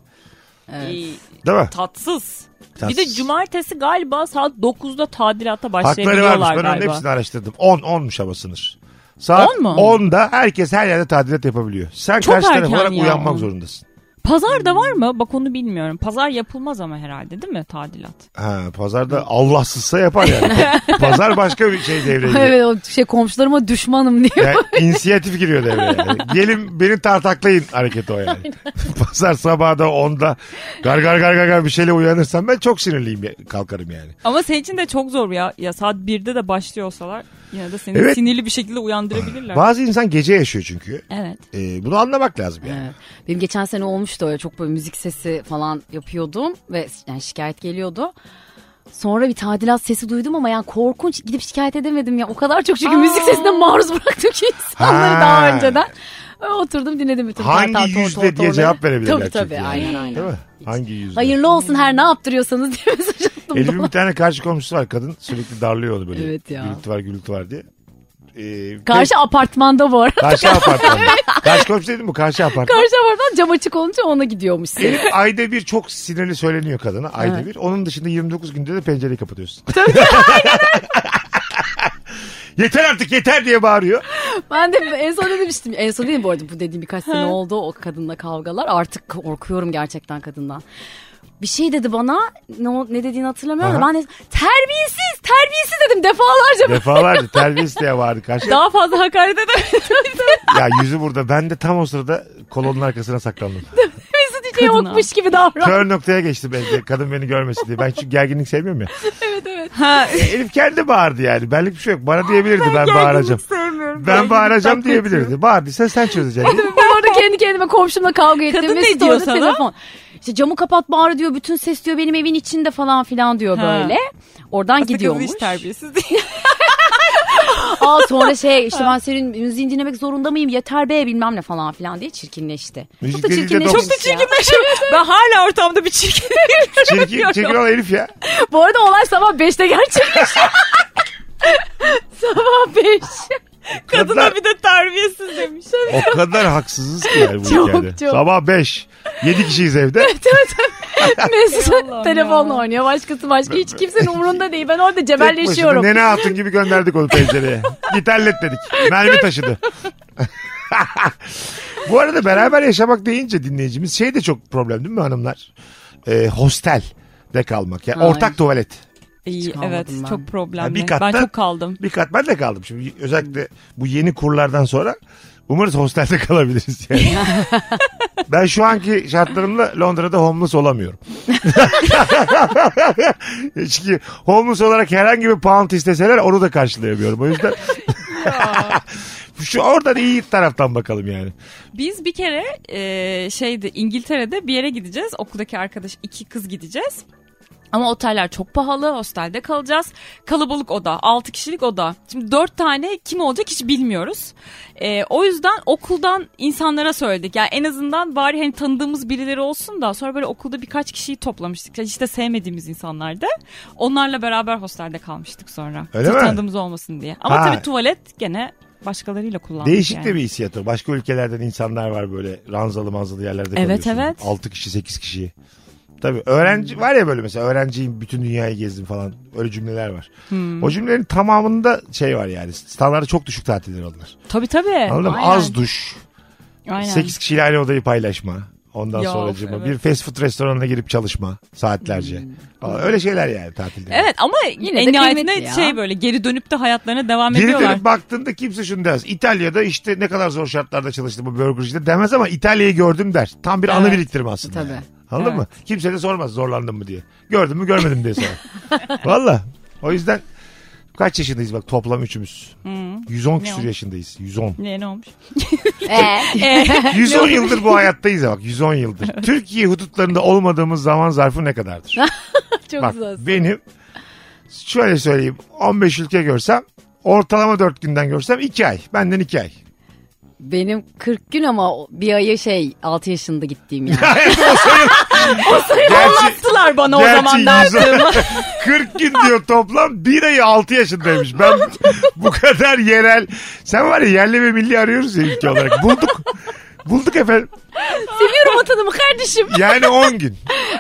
İyi, Değil mi? Tatsız. Bir de Tatsız. cumartesi galiba saat 9'da tadilata Hakları varmış. başlayabiliyorlar Ben onun galiba. hepsini araştırdım. 10 10'muş ama sınır. Saat 10 mu? 10'da herkes her yerde tadilat yapabiliyor. Sen Çok karşı taraf erken olarak ya uyanmak on. zorundasın. Pazar da var mı? Bak onu bilmiyorum. Pazar yapılmaz ama herhalde değil mi tadilat? Ha, pazarda Allahsızsa yapar yani. Pazar başka bir şey devreye giriyor. Evet o şey komşularıma düşmanım diyor. Yani inisiyatif giriyor devreye. Yani. Gelin beni tartaklayın hareketi o yani. Pazar sabahı da 10'da gar gar gar gar gar bir şeyle uyanırsam ben çok sinirliyim ya- kalkarım yani. Ama senin için de çok zor ya. Ya saat 1'de de başlıyorsalar yine de seni Evet. sinirli bir şekilde uyandırabilirler. Bazı insan gece yaşıyor çünkü. evet. Ee, bunu anlamak lazım yani. Evet. Benim geçen sene olmuştu öyle çok böyle müzik sesi falan yapıyordum ve yani şikayet geliyordu. Sonra bir tadilat sesi duydum ama yani korkunç gidip şikayet edemedim ya. O kadar çok çünkü müzik sesine maruz bıraktım ki insanları Ha. daha önceden. Öyle oturdum dinledim bütün Hangi tartar, tor, yüzde tor, diye torları. cevap verebilirler Tabii çünkü tabii yani. aynen aynen. Değil mi? Hangi yüzde? Hayırlı olsun her ne yaptırıyorsanız diye mesaj attım. Elif'in bir tane karşı komşusu var kadın sürekli darlıyor onu böyle. Evet ya. Gürültü var gürültü var diye. Ee, Karşı apartmanda bu arada. karşı apartman. karşı komşu dedim mi? Karşı apartman. Karşı apartman cam açık olunca ona gidiyormuş. Elif ayda bir çok sinirli söyleniyor kadına. Ayda Evet. bir. Onun dışında 29 günde de pencereyi kapatıyorsun. yeter artık yeter diye bağırıyor. Ben de en son ne demiştim? En son değil bu arada bu dediğim birkaç sene oldu o kadınla kavgalar. Artık korkuyorum gerçekten kadından. Bir şey dedi bana ne, o- ne dediğini hatırlamıyorum da Aha. ben de terbiyesiz terbiyesiz dedim defalarca. Defalarca terbiyesiz diye bağırdı karşı. Daha fazla hakaret edemeyiz. ya yüzü burada. Ben de tam o sırada kolonun arkasına saklandım. Terbiyesiz hiç yokmuş gibi davran. Kör noktaya geçti bence. Kadın beni görmesin diye. Ben çünkü gerginlik sevmiyorum ya. ha, Elif kendi bağırdı yani. Benlik bir şey yok. Bana diyebilirdi ben, bağıracağım. Ben bağıracağım diyebilirdi. Bağırdıysa sen çözeceksin. Bu arada kendi kendime komşumla kavga ettim. Kadın ne Mesut diyor orada sana? Telefon. İşte camı kapat bağır diyor. Bütün ses diyor benim evin içinde falan filan diyor Ha. böyle. Oradan gidiyormuş. gidiyormuş. Hiç terbiyesiz değil. Aa sonra şey işte ben senin müziğini dinlemek zorunda mıyım yeter be bilmem ne falan filan diye çirkinleşti. Müzik çok da dediğince çirkinleşmiş. doksan- Çok da çirkinleşiyor. ben hala ortamda bir çirkin. Çirkin, çirkin olan Elif ya. Bu arada olay sabah 5'te gerçekleşti. sabah 5. Kadına bir de terbiyesiz demiş. O kadar haksızız ki yani bu Çok, hikayede. çok. Sabah 5. 7 kişiyiz evde. Mesut Allah'ım telefonla ya. oynuyor. Başkası başka hiç kimsenin umurunda değil. Ben orada Tek başına cebelleşiyorum. Nene Hatun gibi gönderdik onu pencereye. Git hallet dedik. Mermi taşıdı. bu arada beraber yaşamak deyince dinleyicimiz şey de çok problem değil mi hanımlar? Ee, hostelde kalmak. Yani Ay. ortak tuvalet. İyi kalmadım evet ben. çok Yani problemli. bir katta- ben çok kaldım. Bir kat ben de kaldım. Şimdi özellikle bu yeni kurlardan sonra Umarız hostelde kalabiliriz yani. ben şu anki şartlarımla Londra'da homeless olamıyorum. Çünkü homeless olarak herhangi bir pound isteseler onu da karşılayamıyorum. O yüzden şu oradan iyi taraftan bakalım yani. Biz bir kere e, şeyde İngiltere'de bir yere gideceğiz. Okuldaki arkadaş iki kız gideceğiz. Ama oteller çok pahalı. Hostelde kalacağız. Kalabalık oda. 6 kişilik oda. Şimdi 4 tane kim olacak hiç bilmiyoruz. E, o yüzden okuldan insanlara söyledik. Yani en azından bari hani tanıdığımız birileri olsun da sonra böyle okulda birkaç kişiyi toplamıştık. Yani Hiç de sevmediğimiz insanlardı. Onlarla beraber hostelde kalmıştık sonra. Öyle Sırf mi? Tanıdığımız olmasın diye. Ama Ha. tabii tuvalet gene başkalarıyla kullandık Değişik yani. de bir hissiyat o. Başka ülkelerden insanlar var böyle ranzalı manzalı yerlerde Evet, kalıyorsun. evet. 6 kişi 8 kişi. Tabii öğrenci var ya böyle mesela öğrenciyim bütün dünyayı gezdim falan öyle cümleler var. Hmm. O cümlelerin tamamında şey var yani standartı çok düşük tatiller onlar. Tabii tabii. Anladın mı? Aynen. Az duş, Aynen. 8 kişiyle aynı odayı paylaşma. Ondan Yok, sonra evet. Hmm. bir fast food restoranına girip çalışma saatlerce. Falan. Öyle şeyler yani tatilde. Evet ama yine de en nihayetinde kıymetli ya. şey böyle geri dönüp de hayatlarına devam Geri ediyorlar. dönüp baktığında kimse şunu demez. İtalya'da işte ne kadar zor şartlarda çalıştım bu burgercide demez ama İtalya'yı gördüm der. Tam bir anı Evet. biriktirme aslında. Tabii. yani. Anladın mı? Kimse de sormaz zorlandım mı diye. Gördüm mü görmedim diye sorar. Valla. O yüzden kaç yaşındayız bak toplam üçümüz. Hmm. 110 küsur oldu? yaşındayız. 110. Ne, ne olmuş? Ee, 110 yıldır bu hayattayız ya bak 110 yıldır. Türkiye hudutlarında olmadığımız zaman zarfı ne kadardır? çok Bak güzel. benim şöyle söyleyeyim 15 ülke görsem ortalama 4 günden görsem 2 ay. Benden 2 ay. Benim 40 gün ama bir ayı şey 6 yaşında gittiğim yani. Gerçi, Anlattılar bana o gerçi zaman 110 40 gün diyor toplam bir ayı 6 yaşındaymış. Ben bu kadar yerel. Sen var ya yerli ve milli arıyoruz ya ülke olarak. Bulduk. Bulduk efendim. Seviyorum vatanımı kardeşim. Yani 10 gün.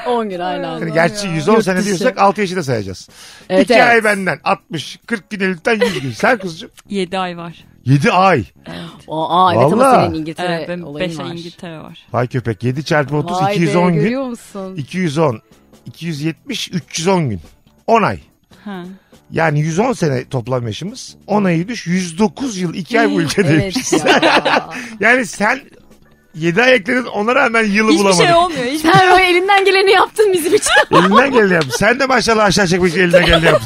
10 gün aynen. Yani gerçi 110 Yurt sene dışı. diyorsak 6 yaşı da sayacağız. Evet, 2 evet. ay benden 60, 40 gün Elif'ten 100 gün. Sen kuzucuğum 7 ay var. 7 ay. Aa, evet ama Vallahi. senin İngiltere Evet, benim olayın 5 ay var. İngiltere var. Vay köpek 7 çarpı 30 Vay be, 210 gün. Görüyor musun? 210, 270, 310 gün. 10 ay. Ha. Yani 110 sene toplam yaşımız. 10 ayı düş 109 yıl 2 ay bu ülkedeymiş. Evet ya. Yani sen 7 ay ekledin ona rağmen yılı Hiçbir bulamadın. şey olmuyor. Hiçbir... Sen o elinden geleni yaptın bizim için. Elinden geldi yapmış. Sen de maşallah aşağı çekmiş elinden geldi yapmış.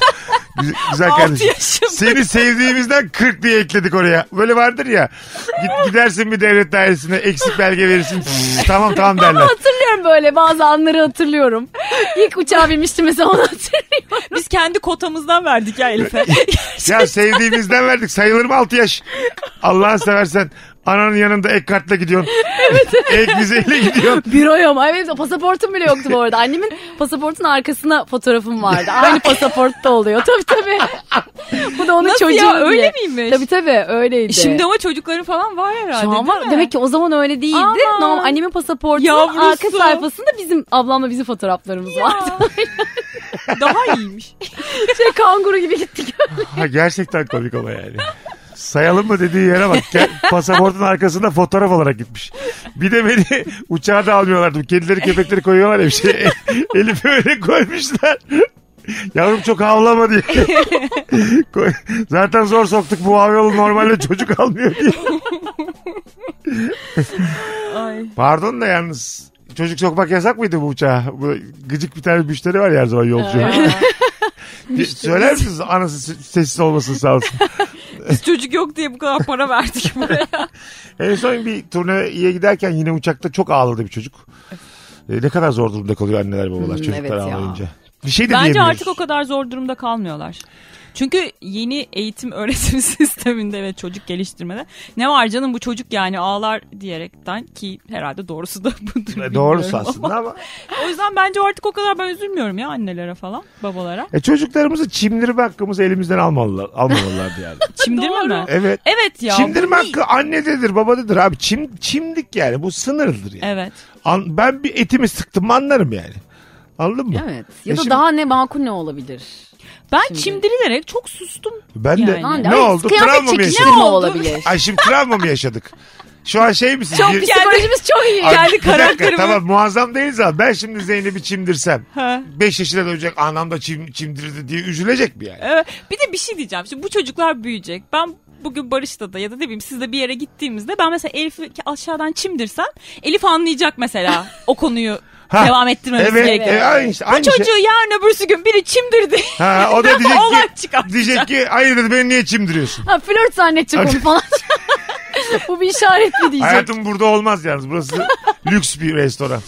Güzel, güzel Altı kardeşim. yaşım. Seni sevdiğimizden 40 diye ekledik oraya. Böyle vardır ya. Git, gidersin bir devlet dairesine eksik belge verirsin. tamam tamam derler. hatırlıyorum böyle bazı anları hatırlıyorum. İlk uçağa binmiştim mesela onu hatırlıyorum. Biz kendi kotamızdan verdik ya Elif'e. Ya sevdiğimizden verdik. Sayılır mı 6 yaş? Allah'ını seversen ananın yanında ek kartla gidiyorsun. ek vizeyle gidiyorsun. Büroya mı? Ay benim de pasaportum bile yoktu bu arada. Annemin pasaportun arkasına fotoğrafım vardı. Aynı pasaportta oluyor. Tabii tabii. bu da onun Nasıl çocuğu ya öyle diye. miymiş? Tabii tabii öyleydi. Şimdi ama çocukların falan var herhalde Şu an var. değil mi? Demek ki o zaman öyle değildi. Aman. Normal annemin pasaportunun Yavrusu. arka sayfasında bizim ablamla bizim fotoğraflarımız vardı. Daha iyiymiş. Şey kanguru gibi gittik. Ha, gerçekten komik ama yani. Sayalım mı dediği yere bak. Gel, pasaportun arkasında fotoğraf olarak gitmiş. Bir de beni uçağa da almıyorlardı. Kedileri köpekleri koyuyorlar ya bir şey. Elif'i öyle koymuşlar. Yavrum çok havlama diye. Koy- Zaten zor soktuk bu havayolu normalde çocuk almıyor diye. Pardon da yalnız çocuk sokmak yasak mıydı bu uçağa? Bu gıcık bir tane müşteri var ya her zaman yolcu. Bir- Söyler misiniz anası s- sessiz olmasın sağ olsun. Biz çocuk yok diye bu kadar para verdik buraya. en son bir turneye giderken yine uçakta çok ağladı bir çocuk. E, ne kadar zor durumda kalıyor anneler babalar Hmm, çocuklar evet ya. ağlayınca. Bir şey de Bence diyemiyoruz. artık o kadar zor durumda kalmıyorlar. Çünkü yeni eğitim öğretim sisteminde ve çocuk geliştirmede ne var canım bu çocuk yani ağlar diyerekten ki herhalde doğrusu da budur. E, bilmiyorum Doğrusu ama. aslında ama. O yüzden bence artık o kadar ben üzülmüyorum ya annelere falan babalara. E, çocuklarımızı çimdirme hakkımızı elimizden almalılar, almamalılardı yani. Çimdirme mi? Evet. Evet ya. bu- Çimdirme hakkı annededir babadedir abi. Çim, çimdik yani bu sınırdır yani. Evet. An- ben bir etimi sıktım mı anlarım yani. Anladın mı? Evet. E Ya da şimdi- daha ne makul ne olabilir? Ben Şimdi- çimdirilerek çok sustum. Ben de Yani. ne oldu? Travma mı yaşadın? Ne Ne oldu? olabilir? Ay şimdi travma mı yaşadık? Şu an şey misin? Çok Bir- psikolojimiz çok iyi. Ay, Kendi bir dakika, karakterimi- Tamam muazzam değiliz ama ben şimdi Zeynep'i çimdirsem. Ha. 5 yaşına dönecek anam da çim, çimdirdi diye üzülecek mi yani? Evet. Bir de bir şey diyeceğim. Şimdi bu çocuklar büyüyecek. Ben bugün Barış'ta da ya da ne bileyim sizle bir yere gittiğimizde ben mesela Elif'i aşağıdan çimdirsem Elif anlayacak mesela o konuyu Ha, devam ettirmemiz evet, gerekiyor. evet, aynı işte, Bu aynı şey. çocuğu yarın öbürsü gün biri çimdirdi. Ha, o da diyecek Olay ki, diyecek ki hayır dedi beni niye çimdiriyorsun? Ha, flört zannedecek onu falan. Bu bir işaret mi diyecek? Hayatım burada olmaz yalnız. Burası lüks bir restoran.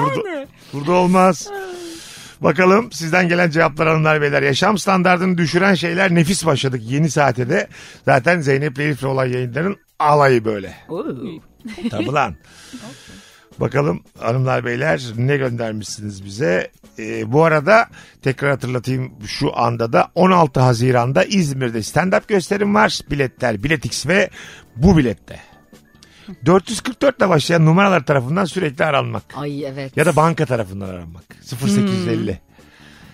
burada, burada olmaz. Bakalım sizden gelen cevaplar hanımlar beyler. Yaşam standartını düşüren şeyler nefis başladık yeni saate de. Zaten Zeynep ile Elif'le olan yayınların alayı böyle. şey. Tabi lan. Bakalım hanımlar beyler ne göndermişsiniz bize. Ee, bu arada tekrar hatırlatayım şu anda da 16 Haziran'da İzmir'de stand-up gösterim var. Biletler Biletix ve bu bilette. 444 ile başlayan numaralar tarafından sürekli aranmak. Ay evet. Ya da banka tarafından aranmak. 0850. Hmm.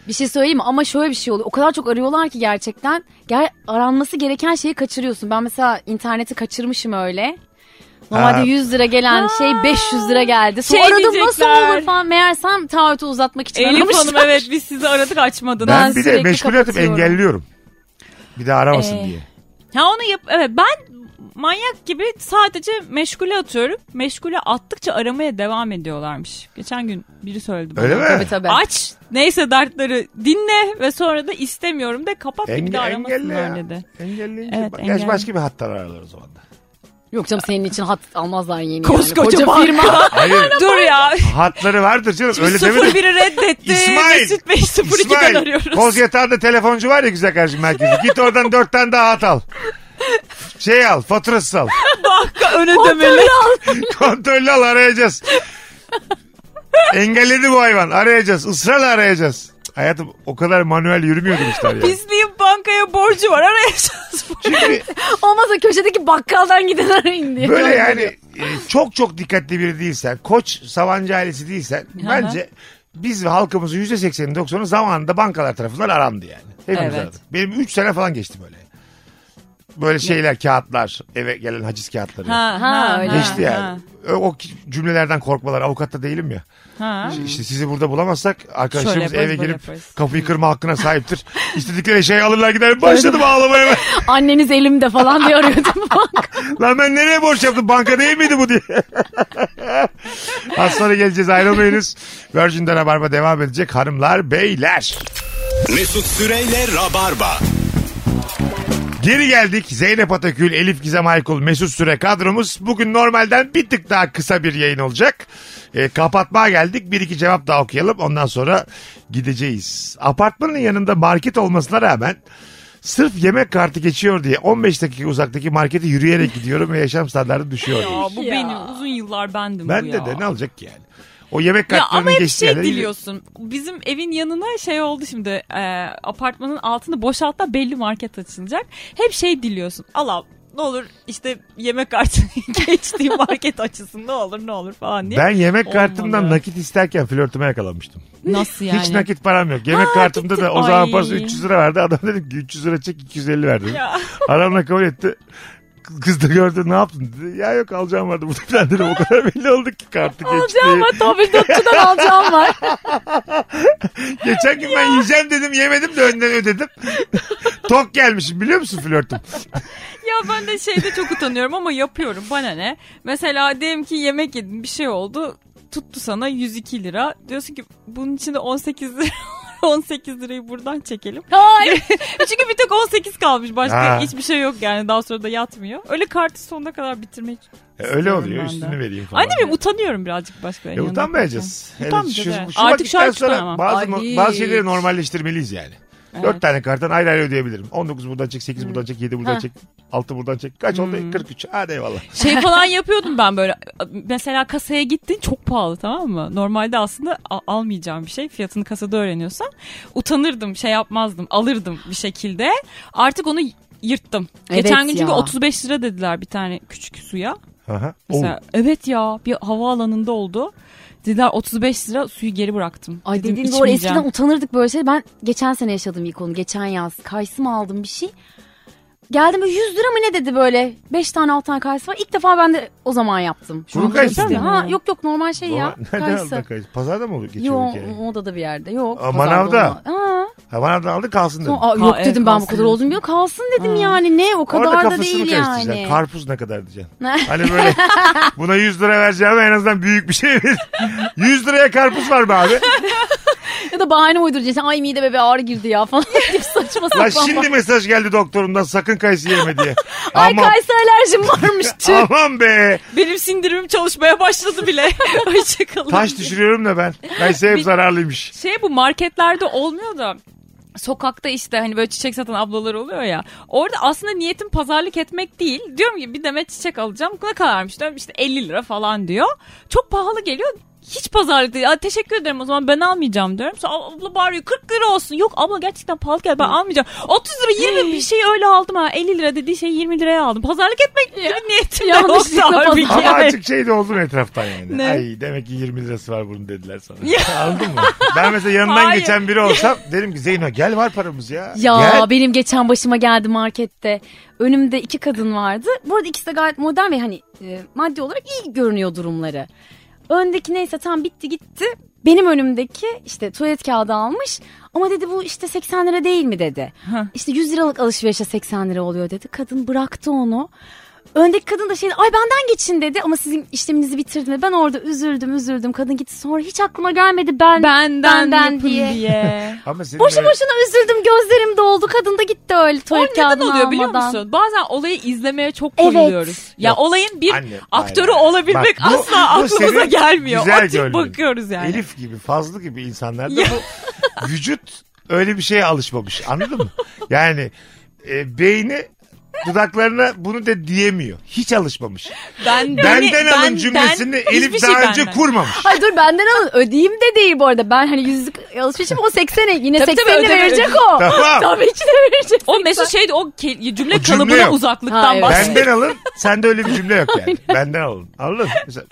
Bir şey söyleyeyim mi? ama şöyle bir şey oluyor. O kadar çok arıyorlar ki gerçekten. Gel aranması gereken şeyi kaçırıyorsun. Ben mesela interneti kaçırmışım öyle. Normalde Ha. 100 lira gelen şey 500 lira geldi. Sonra Şey aradım nasıl diyecekler. olur falan. Meğersem taahhütü uzatmak için Elif aramışlar. Hanım evet biz sizi aradık açmadınız. Ben bir de sürekli meşgul kapatıyorum. engelliyorum. Bir de aramasın Ee, diye. Ha onu yap evet ben manyak gibi sadece meşgule atıyorum. Meşgule attıkça aramaya devam ediyorlarmış. Geçen gün biri söyledi bana. Öyle mi? Tabii tabii. Aç neyse dertleri dinle ve sonra da istemiyorum de kapat da bir Enge- daha engelle aramasınlar ya. dedi. Engelleyince Evet, bak- engelle. Gerçi başka bir hattan ararlar o zaman da. Yok canım senin için hat almazlar yeni. Koskoca yani. banka. firma. Hayır. Dur ya. Hatları vardır canım. Şimdi Öyle demedim. 01'i reddetti. İsmail. Mesut Bey 02'den arıyoruz. Koz yatağında telefoncu var ya güzel kardeşim merkezi. Git oradan dört tane daha hat al. Şey al faturasız al. Banka öne demeli. Kontrollü al arayacağız. Engelledi bu hayvan. Arayacağız. Israrla arayacağız. Hayatım o kadar manuel yürümüyordu işler ya. Pisliğin bankaya borcu var arayacağız. Çünkü Olmazsa köşedeki bakkaldan giden arayın diye. Böyle yani e, çok çok dikkatli biri değilsen, koç savancı ailesi değilsen bence biz ve halkımızın %80'i 90'ı zamanında bankalar tarafından arandı yani. Hepimiz Evet. aradık. Benim 3 sene falan geçti böyle. Böyle şeyler, kağıtlar, eve gelen haciz kağıtları. Ha, öyle. Geçti yani. O, o ki- cümlelerden korkmalar. Avukatta değilim ya. Ha. İşte sizi burada bulamazsak arkadaşlarımız Şöyle yaparız, eve böyle gelip yaparız. kapıyı kırma hakkına sahiptir. İstedikleri şeyi alırlar gider. Başladım ağlamaya. ben. Anneniz elimde falan diye arıyordum. Lan ben nereye borç yaptım? Banka değil miydi bu diye. Az sonra geleceğiz ayrılmayınız. Virgin'den Rabarba devam edecek hanımlar beyler. Mesut Süreyle Rabarba. Geri geldik. Zeynep Atakül, Elif Gizem Aykul, Mesut Süre kadromuz. Bugün normalden bir tık daha kısa bir yayın olacak. E, kapatmaya geldik. Bir iki cevap daha okuyalım. Ondan sonra gideceğiz. Apartmanın yanında market olmasına rağmen sırf yemek kartı geçiyor diye 15 dakika uzaktaki markete yürüyerek gidiyorum ve yaşam standartı düşüyor. Ya bu benim uzun yıllar bendim bu Ben ya. de de ne alacak ki yani? O yemek Ya ama kartlarının hep geçtiği şey yerlere- diliyorsun. Bizim evin yanına şey oldu şimdi. e, apartmanın altını boşalt da belli market açılacak. Hep şey diliyorsun. Allah ne olur işte yemek kartı geçtiği market açılsın ne olur ne olur falan diye. Ben yemek kartımdan Olmadı. nakit isterken flörtüme yakalanmıştım. Nasıl yani? Hiç nakit param yok. Yemek Ha, kartımda gitti. da o zaman Ay. parası 300 lira verdi. Adam dedim ki 300 lira çek 250 ver dedim. Ya. Adam da kabul etti. Kız da gördü ne yaptın dedi. Ya yok alacağım vardı burada falan dedim. O kadar belli oldu ki kartı geçti. Ama tabildotçudan alacağım var. Geçen gün ben yiyeceğim dedim yemedim de önden ödedim. Tok gelmişim biliyor musun flörtüm? Ya ben de şeyde çok utanıyorum ama yapıyorum. Bana ne? Mesela diyelim ki yemek yedin bir şey oldu. Tuttu sana 102 lira. Diyorsun ki bunun içinde 18 lira 18 lirayı buradan çekelim. Hayır. Çünkü bir tek 18 kalmış. Başka Ha. hiçbir şey yok yani. Daha sonra da yatmıyor. Öyle kartı sonuna kadar bitirmek E, Öyle oluyor ben de. üstünü vereyim falan. Anne benim utanıyorum birazcık başkalarının E, yanına utanmayacağız. yaparken. Evet, Utanmayacağız, şu, evet. şu Artık şu an vakitten sonra çıkaramam. bazı, Ay, bazı hiç. şeyleri normalleştirmeliyiz yani. Evet. Dört tane karttan ayrı ayrı ödeyebilirim. 19 buradan çek, Hmm. 8 buradan çek, 7 buradan Ha. çek, 6 buradan çek. Kaç Hmm. oldu? 43. Hadi eyvallah. Şey falan yapıyordum ben böyle. Mesela kasaya gittin çok pahalı tamam mı? Normalde aslında a- almayacağım bir şey. Fiyatını kasada öğreniyorsan. Utanırdım şey yapmazdım. Alırdım bir şekilde. Artık onu yırttım. Evet Geçen gün ya. çünkü 35 lira dediler bir tane küçük suya. Aha. Mesela evet ya bir havaalanında oldu. Dediler 35 lira suyu geri bıraktım. Ay Dedim, dediğin doğru içmeyeceğim. eskiden utanırdık böyle şey. Ben geçen sene yaşadım ilk onu. Geçen yaz kayısı mı aldım bir şey. Geldim böyle 100 lira mı ne dedi böyle. 5 tane 6 tane kayısı var. İlk defa ben de o zaman yaptım. Şu Kuru an kayısı düşünsene. mı? Ha, yok yok normal şey O- ya. Nereden Kayısı. aldın kayısı? Pazarda mı oluyor? Geçiyor Yo ülkeye? odada bir yerde yok. Aa, pazarda manavda. olma- Ha, Ha, bana da aldı kalsın dedim. Aa, yok dedim ben bu kadar oldum yok kalsın dedim yani ne o Orada kadar da kafasını değil karıştıracaksın. yani. Karpuz ne kadar diyeceksin. Hani böyle buna 100 lira vereceğim en azından büyük bir şey ver. 100 liraya karpuz var mı abi? ya da bahane uyduracaksın ay mide bebe ağrı girdi ya falan gibi saçma sapan. Lan şimdi mesaj geldi doktorumdan sakın kayısı yeme diye. Ay Aman, kayısı alerjim varmış tüh. aman be. Benim sindirimim çalışmaya başladı bile. Hoşçakalın. Taş düşürüyorum da ben. Kayısı hep Bir- zararlıymış. Şey bu marketlerde olmuyor da sokakta işte hani böyle çiçek satan ablalar oluyor ya. Orada aslında niyetim pazarlık etmek değil. Diyorum ki bir demet çiçek alacağım. Ne kadarmış diyorum işte 50 lira falan diyor. Çok pahalı geliyor. Hiç pazarlık değil. "Aa, teşekkür ederim o zaman ben almayacağım diyorum. Sonra abla bağırıyor 40 lira olsun. Yok abla gerçekten pahalı geldi ben almayacağım. 30 lira 20 bir şey öyle aldım ha. 50 lira dediği şeyi 20 liraya aldım. Pazarlık etmek gibi niyetim de yoktu yanlışlıkla halbuki. Ama yani. açık şey de oldun etraftan yani. Ne? Ay demek ki 20 lirası var bunun dediler sana. Anladın mı? Ben mesela yanından Hayır. geçen biri olsam derim ki Zeyno gel var paramız ya. Ya Gel. benim geçen başıma geldi markette. Önümde iki kadın vardı. Bu arada ikisi de gayet modern ve hani e, maddi olarak iyi görünüyor durumları. Öndeki neyse tam bitti gitti. Benim önümdeki işte tuvalet kağıdı almış. Ama dedi bu işte 80 lira değil mi dedi. İşte 100 liralık alışverişe 80 lira oluyor dedi. Kadın bıraktı onu. Öndeki kadın da şey ay benden geçin dedi ama sizin işleminizi bitirdim. dedi. Ben orada üzüldüm üzüldüm. Kadın gitti sonra hiç aklıma gelmedi ben Benden, Benden yapın diye. diye. Ama senin Boşu öyle- boşuna üzüldüm gözlerim doldu kadın da gitti öyle O tuvalet neden kağıdını oluyor almadan. biliyor musun? Bazen olayı izlemeye çok Evet. koyuluyoruz. Ya Yok. olayın bir Anne, aktörü hayır. olabilmek Bak, bu- asla bu aklımıza senin gelmiyor. güzel Açık gördüğün. bakıyoruz yani. Elif gibi fazla gibi insanlarda Ya. bu vücut öyle bir şeye alışmamış. Anladın mı? Yani e, beyni dudaklarına bunu da diyemiyor. Hiç alışmamış. Ben, Benden hani beni- alın ben- cümlesini ben- hiçbir Elif şey daha önce benden. kurmamış. Ay dur benden alın ödeyeyim de değil bu arada ben hani yüzlük alışverişim o 80'e yine Tabii 80'ini tabii, ödeme, verecek ödeme. o. Tamam. Tabii ki de verecek. O mesela şeydi o ke- cümle, kalıbına yok. uzaklıktan Hayır. bahsediyor. Benden alın. Sende öyle bir cümle yok yani. Benden alın. Anladın mı? Mesela,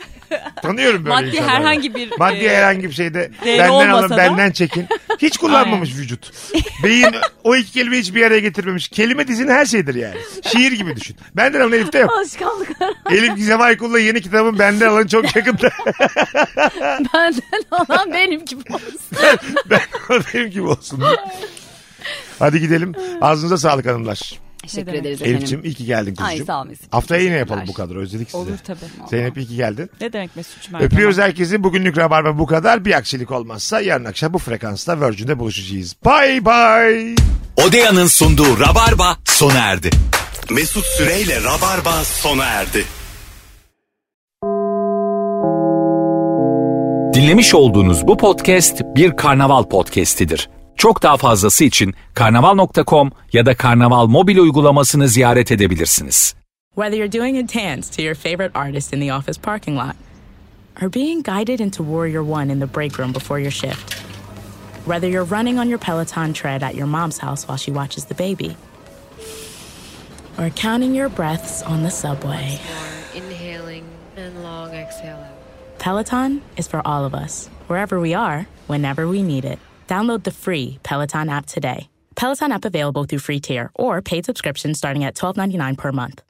tanıyorum böyle Maddi insanları. herhangi bir Maddi e, herhangi bir şeyde değeri benden alın olmasa da- benden çekin. Hiç kullanmamış vücut. Beyin o iki kelimeyi hiçbir araya getirmemiş. Kelime dizini her şeydir yani. Şiir gibi düşün. Benden alın Elif'te yok. Alışkanlıklar Elif Gizem Aykul'la yeni kitabın benden alın çok yakında. benden alan benimki bu olsun. ben benim gibi olsun. Hadi gidelim. Ağzınıza sağlık hanımlar. Teşekkür ederiz Elif'ciğim iyi ki geldin kuzucuğum. Ay sağ ol Mesut. Haftaya yine Teşekkürler. yapalım bu kadar. Özledik sizi. Olur tabii. Zeynep iyi ki geldin. Ne demek Mesut'cum her Öpüyoruz herkesi. Bugünlük Rabarba bu kadar. Bir aksilik olmazsa yarın akşam bu frekansta Virgin'de buluşacağız. Bye bye. Odeya'nın sunduğu Rabarba sona erdi. Mesut Süreyle Rabarba sona erdi. Dinlemiş olduğunuz bu podcast bir karnaval podcastidir. Çok daha fazlası için karnaval.com ya da karnaval mobil uygulamasını ziyaret edebilirsiniz. Whether you're doing a dance to your favorite artist in the office parking lot or being guided into Warrior One in the break room before your shift, whether you're running on your Peloton tread at your mom's house while she watches the baby, or counting your breaths on the subway, Inhaling and long exhale out. Peloton is for all of us, wherever we are, whenever we need it. Download the free Peloton app today. Peloton app available through free tier or paid subscription starting at $12.99 per month.